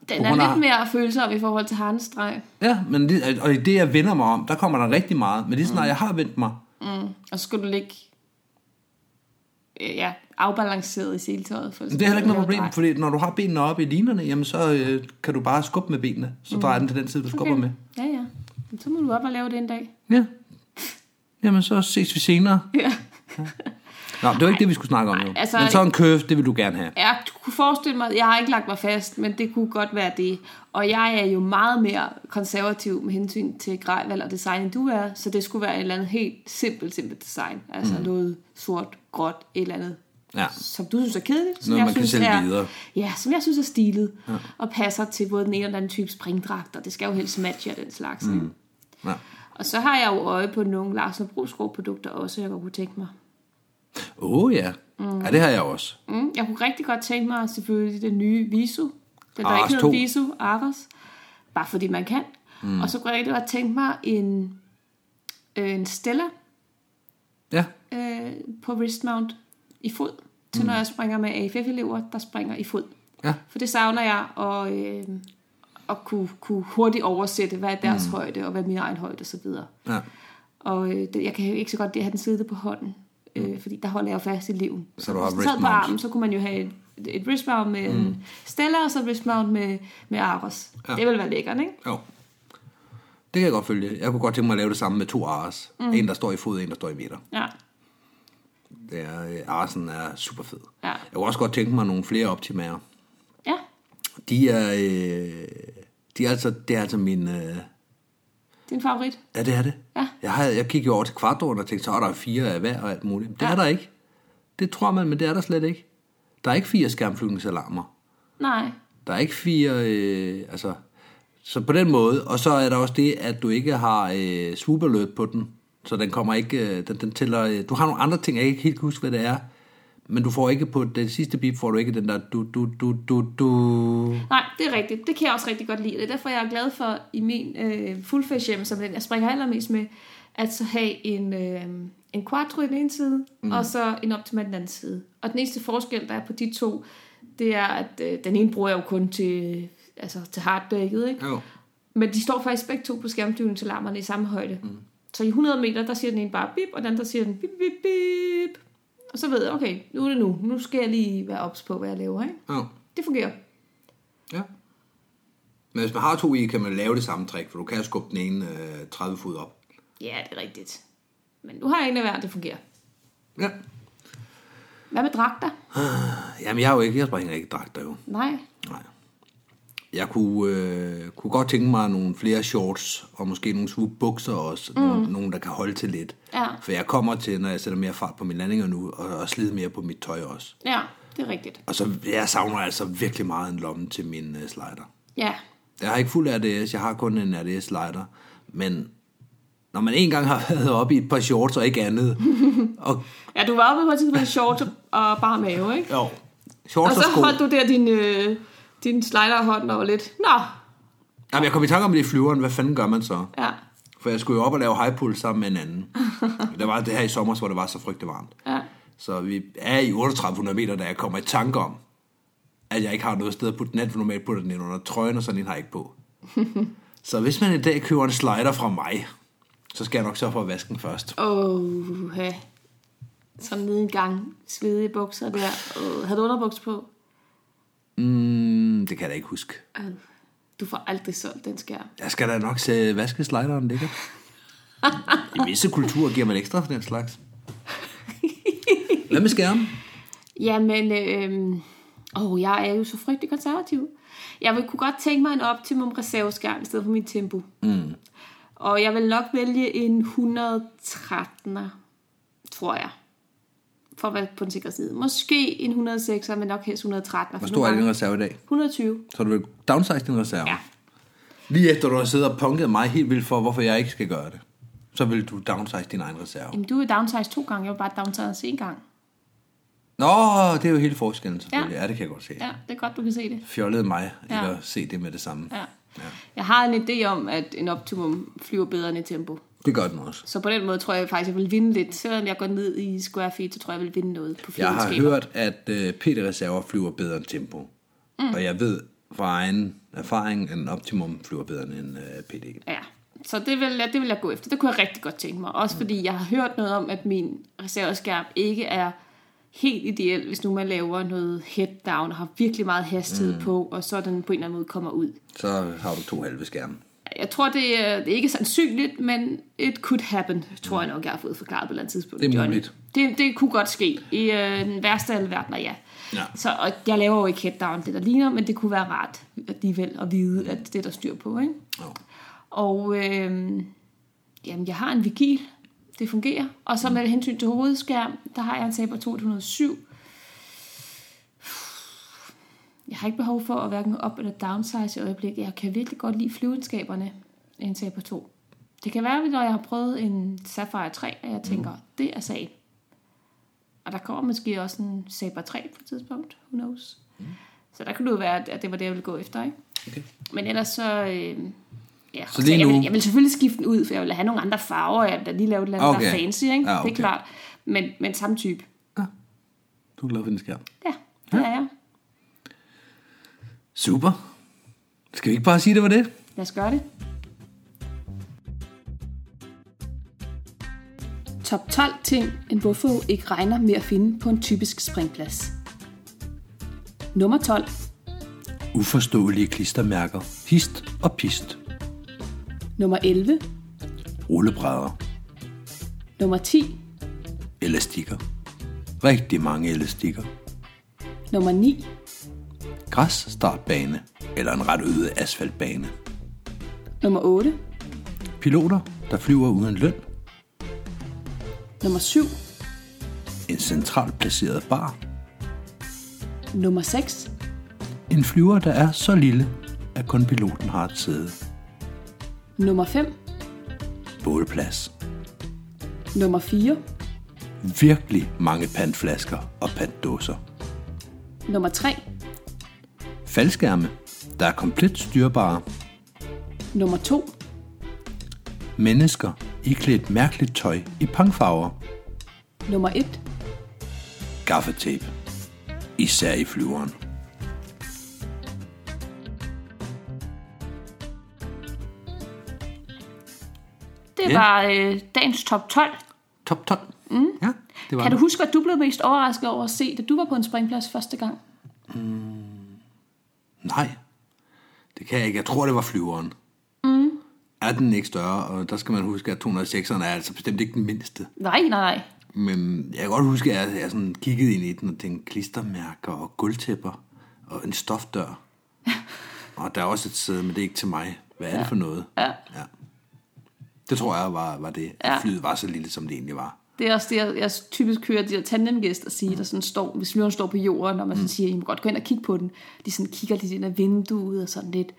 Speaker 2: den er
Speaker 3: Corona-
Speaker 2: lidt mere følsom i forhold til harnestreg.
Speaker 3: Ja, men det, og i det, jeg vender mig om, der kommer der rigtig meget. Men lige snart jeg har vendt mig,
Speaker 2: Mm. Og så skulle du ligge øh, ja, afbalanceret i seletøjet. For
Speaker 3: det er heller ikke noget problem, fordi når du har benene oppe i linerne, jamen så øh, kan du bare skubbe med benene. Så drejer den til den side, du skubber med.
Speaker 2: Ja, ja. Men Så må du op og lave det en dag.
Speaker 3: Ja. Jamen så ses vi senere.
Speaker 2: Ja.
Speaker 3: Nå, det var ikke det, vi skulle snakke om jo.
Speaker 2: altså-
Speaker 3: men så en curve, det vil du gerne have.
Speaker 2: Jeg kunne forestille mig, jeg har ikke lagt mig fast, men det kunne godt være det. Og jeg er jo meget mere konservativ med hensyn til grejvalg og design, end du er, så det skulle være et eller andet helt simpelt, simpelt design. Altså mm. noget sort, gråt, et eller andet,
Speaker 3: Ja.
Speaker 2: som du synes er kedeligt. Som
Speaker 3: Noget,
Speaker 2: jeg
Speaker 3: man kan
Speaker 2: synes
Speaker 3: sælge
Speaker 2: er,
Speaker 3: videre.
Speaker 2: Ja, som jeg synes er stilet, ja. og passer til både den ene og den anden type springdragt, og det skal jo helst matche og den slags. Mm.
Speaker 3: ja.
Speaker 2: Og så har jeg jo øje på nogle Lars Brugskov produkter også, jeg godt kunne tænke mig.
Speaker 3: Åh oh, ja. Ja, det har jeg også.
Speaker 2: Mm, jeg kunne rigtig godt tænke mig selvfølgelig den nye Visu. Den der
Speaker 3: Ares
Speaker 2: ikke hedder
Speaker 3: 2.
Speaker 2: Visu, Aras. Bare fordi man kan. Mm. Og så kunne jeg rigtig godt tænke mig en, øh, en Stella
Speaker 3: Ja.
Speaker 2: øh, på wristmount i fod. Til mm. når jeg springer med AFF-elever, der springer i fod.
Speaker 3: Ja.
Speaker 2: For det savner jeg at, øh, at kunne, kunne hurtigt oversætte, hvad er deres mm. højde, og hvad er min egen højde osv.
Speaker 3: ja.
Speaker 2: Og øh, det, jeg kan ikke så godt lide at have den siddende på hånden, øh, fordi der holder jeg jo fast i liven.
Speaker 3: Mm. Så du har
Speaker 2: hvis den sad på
Speaker 3: wristmount.
Speaker 2: armen, så kunne man jo have et, et wristmount med mm. Stella, og så et wristmount med, med Aros. Ja. Det ville være lækkert, ikke?
Speaker 3: Jo. Det kan jeg godt følge. Jeg kunne godt tænke mig at lave det samme med to ares. Mm. En, der står i fod, en, der står i meter.
Speaker 2: Ja.
Speaker 3: Det er, øh, arsen er super fed.
Speaker 2: Ja.
Speaker 3: Jeg kunne også godt tænke mig nogle flere optimaer.
Speaker 2: Ja.
Speaker 3: De er, øh, de er altså, det er altså min... Øh,
Speaker 2: Din favorit.
Speaker 3: ja, det er det.
Speaker 2: Ja.
Speaker 3: Jeg, havde, jeg kiggede over til kvartåren og tænkte, så er der fire af hver og alt muligt. Men det ja. er der ikke. Det tror man, men det er der slet ikke. Der er ikke fire skærmflyvningsalarmer.
Speaker 2: Nej.
Speaker 3: Der er ikke fire... Øh, altså, så på den måde. Og så er der også det, at du ikke har øh, swoop alert på den. Så den kommer ikke... Øh, den, den tæller, øh, du har nogle andre ting, jeg ikke helt kan huske, hvad det er. Men du får ikke på det sidste bip, får du ikke den der du, du, du, du, du.
Speaker 2: Nej, det er rigtigt. Det kan jeg også rigtig godt lide. Det er derfor, jeg er glad for i min øh, fullface hjem, som den jeg springer allermest med, at så have en, øh, en quattro i den ene side, mm. og så en optima i den anden side. Og den eneste forskel, der er på de to, det er, at øh, den ene bruger jeg jo kun til, altså, til hardbækket, ikke?
Speaker 3: Jo.
Speaker 2: Men de står faktisk begge to på skærmdynen til larmerne i samme højde. Mm. Så i 100 meter, der siger den ene bare bip, og den anden, der siger den bip, bip, bip. Og så ved jeg, okay, nu er det nu. Nu skal jeg lige være ops på, hvad jeg laver, ikke?
Speaker 3: Jo.
Speaker 2: Det fungerer.
Speaker 3: Ja. Men hvis man har to i, kan man lave det samme trick, for du kan skubbe den ene øh, 30 fod op.
Speaker 2: Ja, det er rigtigt. Men nu har jeg en af hver, det fungerer.
Speaker 3: Ja.
Speaker 2: Hvad med dragter?
Speaker 3: Jamen, jeg, er jo ikke, jeg springer ikke dragter jo.
Speaker 2: Nej.
Speaker 3: Nej. Jeg kunne, øh, kunne godt tænke mig nogle flere shorts, og måske nogle swoop-bukser også. Mm. Nogle, nogle, der kan holde til lidt.
Speaker 2: Ja.
Speaker 3: For jeg kommer til, når jeg sætter mere fart på mine landinger nu, og, og slide mere på mit tøj også.
Speaker 2: Ja, det er rigtigt.
Speaker 3: Og så jeg savner altså virkelig meget en lomme til min øh, slider.
Speaker 2: Ja.
Speaker 3: Jeg har ikke fuld RDS, jeg har kun en RDS-slider. Men når man en gang har været oppe i et par shorts og ikke andet, og
Speaker 2: Ja, du var oppe på et tidspunkt i shorts og bare mave, ikke?
Speaker 3: jo,
Speaker 2: Og
Speaker 3: shorts og,
Speaker 2: så
Speaker 3: sko.
Speaker 2: holdt du der din, øh, din sliderhånd og var lidt, nå,
Speaker 3: Jamen, jeg kom i tanke om det i flyveren, hvad fanden gør man så?
Speaker 2: ja,
Speaker 3: For jeg skulle jo op og lave high pull sammen med en anden. det var det her i sommer, hvor det var så frygtelig varmt.
Speaker 2: ja,
Speaker 3: Så vi er i 3800 meter, da jeg kommer i tanke om, at jeg ikke har noget sted at putte den hen, for normalt putter den ind under trøjen, og sådan en har jeg ikke på. så hvis man i dag køber en slider fra mig, så skal jeg nok sørge for at vaske den først.
Speaker 2: åh, ja. Sådan nede en gang, svedige bukser der, øh, havde du underbukser på?
Speaker 3: Mm, det kan jeg da ikke huske.
Speaker 2: Øh, du får aldrig solgt den skærm.
Speaker 3: Jeg skal da nok se vaske slideren lækkert. I visse kulturer giver man ekstra for den slags. Hvad med skærmen?
Speaker 2: Jamen, øh, åh, jeg er jo så frygtelig konservativ. Jeg vil kunne godt tænke mig en optimum reserveskærm i stedet for min tempo. Mm. Og jeg vil nok vælge en 113'er, tror jeg. For at være på den sikre side. Måske en 106'er, men nok helst 113'er.
Speaker 3: Hvor stor er din reserve i dag?
Speaker 2: 120.
Speaker 3: Så du vil downsize din reserve?
Speaker 2: Ja.
Speaker 3: Lige efter du har siddet og punket mig helt vildt for, hvorfor jeg ikke skal gøre det, så vil du downsize din egen reserve.
Speaker 2: Jamen, du er downsize to gange, jeg var bare downsize en gang.
Speaker 3: Nå, det er jo hele forskellen selvfølgelig. Ja,
Speaker 2: Ja.
Speaker 3: ja det kan jeg godt se. Ja.
Speaker 2: Ja, det er godt, du kan se det.
Speaker 3: Fjollede mig, ja.
Speaker 2: Ja.
Speaker 3: eller se det med det samme.
Speaker 2: Ja. ja. Jeg har en idé om, at en optimum flyver bedre end et tempo.
Speaker 3: Det gør den også.
Speaker 2: Så på den måde tror jeg faktisk, jeg vil vinde lidt. Selvom jeg går ned i square feet, så tror jeg, jeg vil vinde noget på
Speaker 3: Jeg har
Speaker 2: fjernskaber.
Speaker 3: hørt, at øh, PT-reserver flyver bedre end tempo. Mm. Og jeg ved fra egen erfaring, at en optimum flyver bedre end en øh, PT.
Speaker 2: Ja, så det vil, jeg, det vil jeg gå efter. Det kunne jeg rigtig godt tænke mig. Også fordi jeg har hørt noget om, at min reserveskærm ikke er helt ideel, hvis nu man laver noget head down og har virkelig meget hastighed mm. på, og så den på en eller anden måde kommer ud.
Speaker 3: Så har du to halve skærme.
Speaker 2: Jeg tror, det er, det er ikke sandsynligt, men it could happen, tror jeg nok, jeg har fået forklaret på et eller andet tidspunkt.
Speaker 3: Det er
Speaker 2: Johnny.
Speaker 3: muligt.
Speaker 2: Det, det kunne godt ske. I øh, den værste af alle verdener, ja.
Speaker 3: Ja.
Speaker 2: Så, og jeg laver jo ikke headdown, det der ligner, men det kunne være rart alligevel at vide, at det er der styr på. Ikke?
Speaker 3: Jo.
Speaker 2: Og øh, jamen, jeg har en vigil. Det fungerer. Og så med hensyn til hovedskærm, der har jeg en Saber 207. Jeg har ikke behov for at hverken op- eller downsize i øjeblikket. Jeg kan virkelig godt lide flyvenskaberne i en Saber 2. Det kan være, når jeg har prøvet en Sapphire 3, at jeg tænker, mm. det er sagen. Og der kommer måske også en Saber 3 på et tidspunkt. Who knows? Mm. Så der kunne det jo være, at det var det, jeg ville gå efter, ikke?
Speaker 3: Okay.
Speaker 2: Men ellers så... Øh, ja,
Speaker 3: Så
Speaker 2: så
Speaker 3: lige
Speaker 2: jeg,
Speaker 3: nu-
Speaker 2: vil, jeg vil selvfølgelig skifte den ud, for jeg vil have nogle andre farver, og jeg vil da lige lave et eller andet, okay. der
Speaker 3: Okay.
Speaker 2: er fancy, ikke?
Speaker 3: Ja,
Speaker 2: Det
Speaker 3: okay.
Speaker 2: er klart. Men, men samme type.
Speaker 3: Du er glad for din skærm.
Speaker 2: Ja, det er jeg.
Speaker 3: Super. Skal vi ikke bare sige, det var det?
Speaker 2: Lad os gøre det. Top 12 ting, en hvorfor ikke regner med at finde på en typisk springplads. Nummer 12.
Speaker 3: Uforståelige klistermærker. Hist og pist.
Speaker 2: Nummer 11.
Speaker 3: Rullebrædder.
Speaker 2: Nummer 10.
Speaker 3: Elastikker. Rigtig mange elastikker.
Speaker 2: Nummer 9.
Speaker 3: Græsstartbane. Eller en ret øde asfaltbane.
Speaker 2: Nummer 8.
Speaker 3: Piloter, der flyver uden løn.
Speaker 2: Nummer 7.
Speaker 3: En centralt placeret bar.
Speaker 2: Nummer 6.
Speaker 3: En flyver, der er så lille, at kun piloten har et sæde.
Speaker 2: Nummer 5.
Speaker 3: Bålplads.
Speaker 2: Nummer 4.
Speaker 3: virkelig mange pandflasker og panddåser.
Speaker 2: Nummer 3.
Speaker 3: Faldskærme, der er komplet styrbare.
Speaker 2: Nummer 2.
Speaker 3: Mennesker iklædt mærkeligt tøj i pangfarver.
Speaker 2: Nummer 1.
Speaker 3: Gaffetape. Især i flyveren.
Speaker 2: Det
Speaker 3: Ja.
Speaker 2: var øh, dagens top 12.
Speaker 3: Top 12. Mm. Ja, det var
Speaker 2: Kan du
Speaker 3: det.
Speaker 2: huske, at du blev mest overrasket over at se, da du var på en springplads første gang?
Speaker 3: Nej, det kan jeg ikke. Jeg tror, det var flyveren. Mm. Er den ikke større, og der skal man huske, at 206'eren er altså bestemt ikke den mindste.
Speaker 2: Nej, nej, nej.
Speaker 3: Men jeg kan godt huske, at jeg, jeg sådan kiggede ind i den, og tænkte klistermærker og gulvtæpper og en stofdør. og der er også et sæde, men det er ikke til mig. Hvad er ja. det for noget?
Speaker 2: Ja.
Speaker 3: ja. Det tror jeg var, var det.
Speaker 2: Ja.
Speaker 3: Ja. Flyet var så lille, som det egentlig var.
Speaker 2: Det er også det, jeg, jeg typisk hører de der tandemgæster sige, der sådan står, hvis flyveren står på jorden, og man sådan siger, I må godt gå ind og kigge på den. De sådan kigger lidt ind ad vinduet og sådan lidt.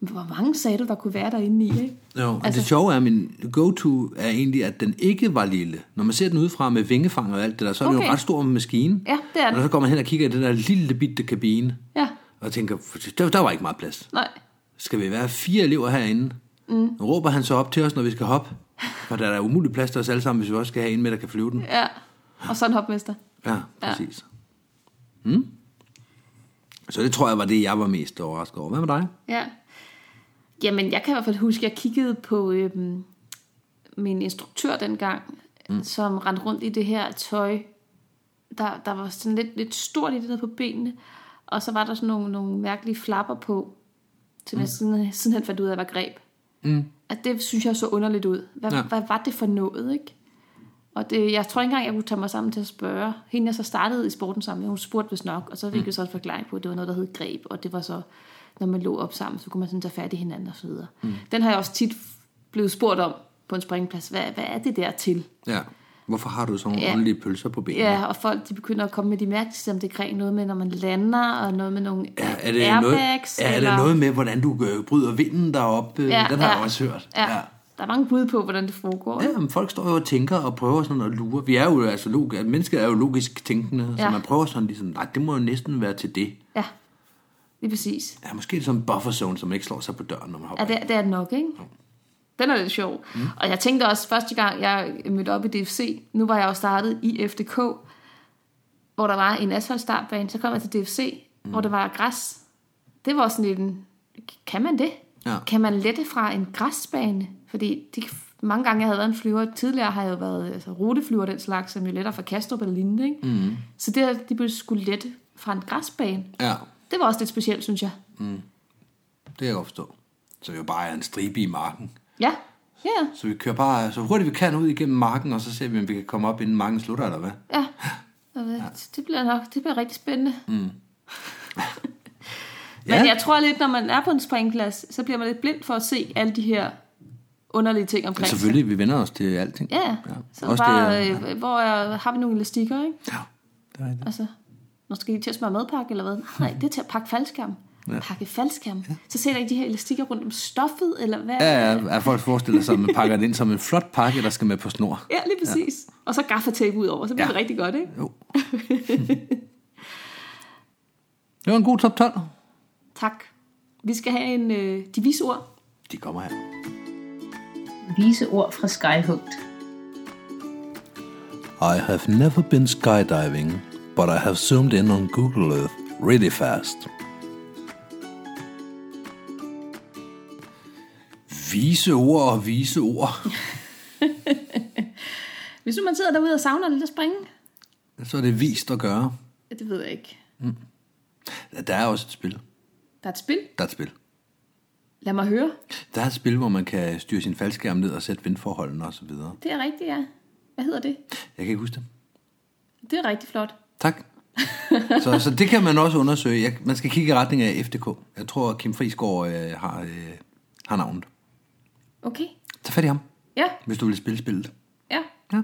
Speaker 2: Men hvor mange sagde du, der kunne være derinde i, ikke?
Speaker 3: Jo, og
Speaker 2: Altså-
Speaker 3: altså, det sjove er, at min go-to er egentlig, at den ikke var lille. Når man ser den udefra med vingefanger og alt det der, så er okay. det jo
Speaker 2: Okay.
Speaker 3: en ret stor maskine.
Speaker 2: Ja, det er den.
Speaker 3: Og så går man hen og kigger i den der lille bitte kabine,
Speaker 2: Ja,
Speaker 3: og tænker, der, der var ikke meget plads.
Speaker 2: nej.
Speaker 3: skal vi være fire elever herinde? Mm. Råber han så op til os, når vi skal hoppe? For der er da umulig plads til os alle sammen, hvis vi også skal have en med, der kan flyve den.
Speaker 2: Ja, og så en hopmester.
Speaker 3: Ja, præcis. Mm. Så det tror jeg var det, jeg var mest overrasket over. Hvad med dig?
Speaker 2: Ja. Jamen, jeg kan i hvert fald huske, at jeg kiggede på øhm, min instruktør dengang, mm. som rendte rundt i det her tøj. Der, der var sådan lidt, lidt stort i det der på benene, og så var der sådan nogle, nogle mærkelige flapper på, som mm. jeg siden, sidenhen fandt ud af var greb. Mm. At det synes jeg så underligt ud. Hvad, ja.
Speaker 3: Ja.
Speaker 2: hvad var det for noget, ikke? Og det, jeg tror ikke engang, jeg kunne tage mig sammen til at spørge. Hende, jeg så startede i sporten sammen med, hun spurgte vist nok, og så fik vi så en forklaring på, at det var noget, der hed greb, og det var så, når man lå op sammen, så kunne man sådan tage fat i hinanden og så videre. Mm. Den har jeg også tit blevet spurgt om på en springplads. Hvad, hvad er det der til?
Speaker 3: Ja. Hvorfor har du sådan nogle
Speaker 2: Ja.
Speaker 3: ja. åndelige pølser på benene?
Speaker 2: Ja, og folk de begynder at komme med de mærkeligste om det greb. Noget med, når man lander, og noget med nogle
Speaker 3: Er, er det
Speaker 2: airbags.
Speaker 3: noget, er, er
Speaker 2: eller-
Speaker 3: det noget med, hvordan du øh, bryder vinden deroppe? Ja, den har jeg også hørt.
Speaker 2: Ja. ja. Der er mange bud på, hvordan det foregår.
Speaker 3: Ja, men folk står jo og tænker og prøver sådan at lure. Vi er jo altså log- mennesker er jo logisk tænkende, ja.
Speaker 2: Ja.
Speaker 3: så man prøver sådan ligesom, nej, det må jo næsten være til det.
Speaker 2: Ja, lige præcis.
Speaker 3: Ja, måske er det sådan en buffer zone, som ikke slår sig på døren, når man hopper.
Speaker 2: Ja, det, det er det nok, ikke? Den er lidt sjov. Mm. Og jeg tænkte også, første gang jeg mødte op i DFC, nu var jeg jo startet i FDK, hvor der var en asfaltstartbane, så kom jeg til DFC, mm. hvor der var græs. Det var sådan lidt en, kan man det?
Speaker 3: Ja.
Speaker 2: Kan man lette fra en græsbane? Fordi de, mange gange, jeg havde været en flyver, tidligere har jeg jo været altså, ruteflyver den slags, som jo letter fra Kastrup eller lignende. Ikke? Mm. Så det, at de blev skulle lette fra en græsbane,
Speaker 3: Ja,
Speaker 2: det var også lidt specielt, synes jeg.
Speaker 3: det kan jeg godt forstå. Så vi jo bare er en stribe i marken.
Speaker 2: Ja, ja, ja.
Speaker 3: Så vi kører bare så hurtigt vi kan ud igennem marken, og så ser vi, om vi kan komme op, inden marken slutter, eller hvad?
Speaker 2: Ja. Jeg ved, det bliver nok det bliver rigtig spændende. Mm. Men
Speaker 3: Ja.
Speaker 2: jeg tror lidt, når man er på en springplads, så bliver man lidt blind for at se alle de her underlige ting omkring. sig.
Speaker 3: Selvfølgelig, vi vender os til alting.
Speaker 2: Ja, ja. så
Speaker 3: Også
Speaker 2: Også bare,
Speaker 3: det,
Speaker 2: det, øh, hvor er, har vi nogle elastikker, ikke?
Speaker 3: ja. Det er rigtigt.
Speaker 2: Altså, når skal de til at smøre madpakke eller hvad? Nej, det er til at pakke faldskærm. Ja. Pakke faldskærm. Ja. Så ser der ikke de her elastikker rundt om stoffet, eller hvad?
Speaker 3: Ja, ja, er folk forestiller sig, at man pakker det ind som en flot pakke, der skal med på snor.
Speaker 2: ja lige præcis. Ja. Og så gaffatape ud over, så bliver ja.
Speaker 3: Ja.
Speaker 2: det rigtig godt, ikke?
Speaker 3: Jo. det var en god top 12.
Speaker 2: Tak. Vi skal have en øh, de vise ord.
Speaker 3: De kommer her.
Speaker 1: Vise ord fra Skyhugt.
Speaker 3: I have never been skydiving, but I have zoomed in on Google Earth really fast. Vise ord og vise ord.
Speaker 2: Hvis nu man sidder derude og savner lidt at springe,
Speaker 3: Så er det vist at gøre.
Speaker 2: Ja, Det ved jeg ikke.
Speaker 3: Der er også et spil.
Speaker 2: Der er et spil.
Speaker 3: Der er et spil.
Speaker 2: Lad mig høre.
Speaker 3: Der er et spil, hvor man kan styre sin faldskærm ned og sætte vindforholdene osv. Jeg
Speaker 2: Det er rigtigt, ja. Hvad hedder det?
Speaker 3: kan ikke huske det.
Speaker 2: Det er rigtig flot.
Speaker 3: Tak. så, så det kan man også undersøge. Jeg, man skal kigge i retning af FDK. Jeg tror, Kim Friisgaard øh, har, øh, har navnet.
Speaker 2: Okay.
Speaker 3: Tag fat i ham,
Speaker 2: Ja,
Speaker 3: hvis du vil spille spillet.
Speaker 2: ja.
Speaker 3: Ja.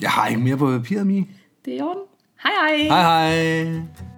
Speaker 3: Jeg har ikke mere på papiret, Mie.
Speaker 2: Det er i orden. Hej hej.
Speaker 3: Hej hej.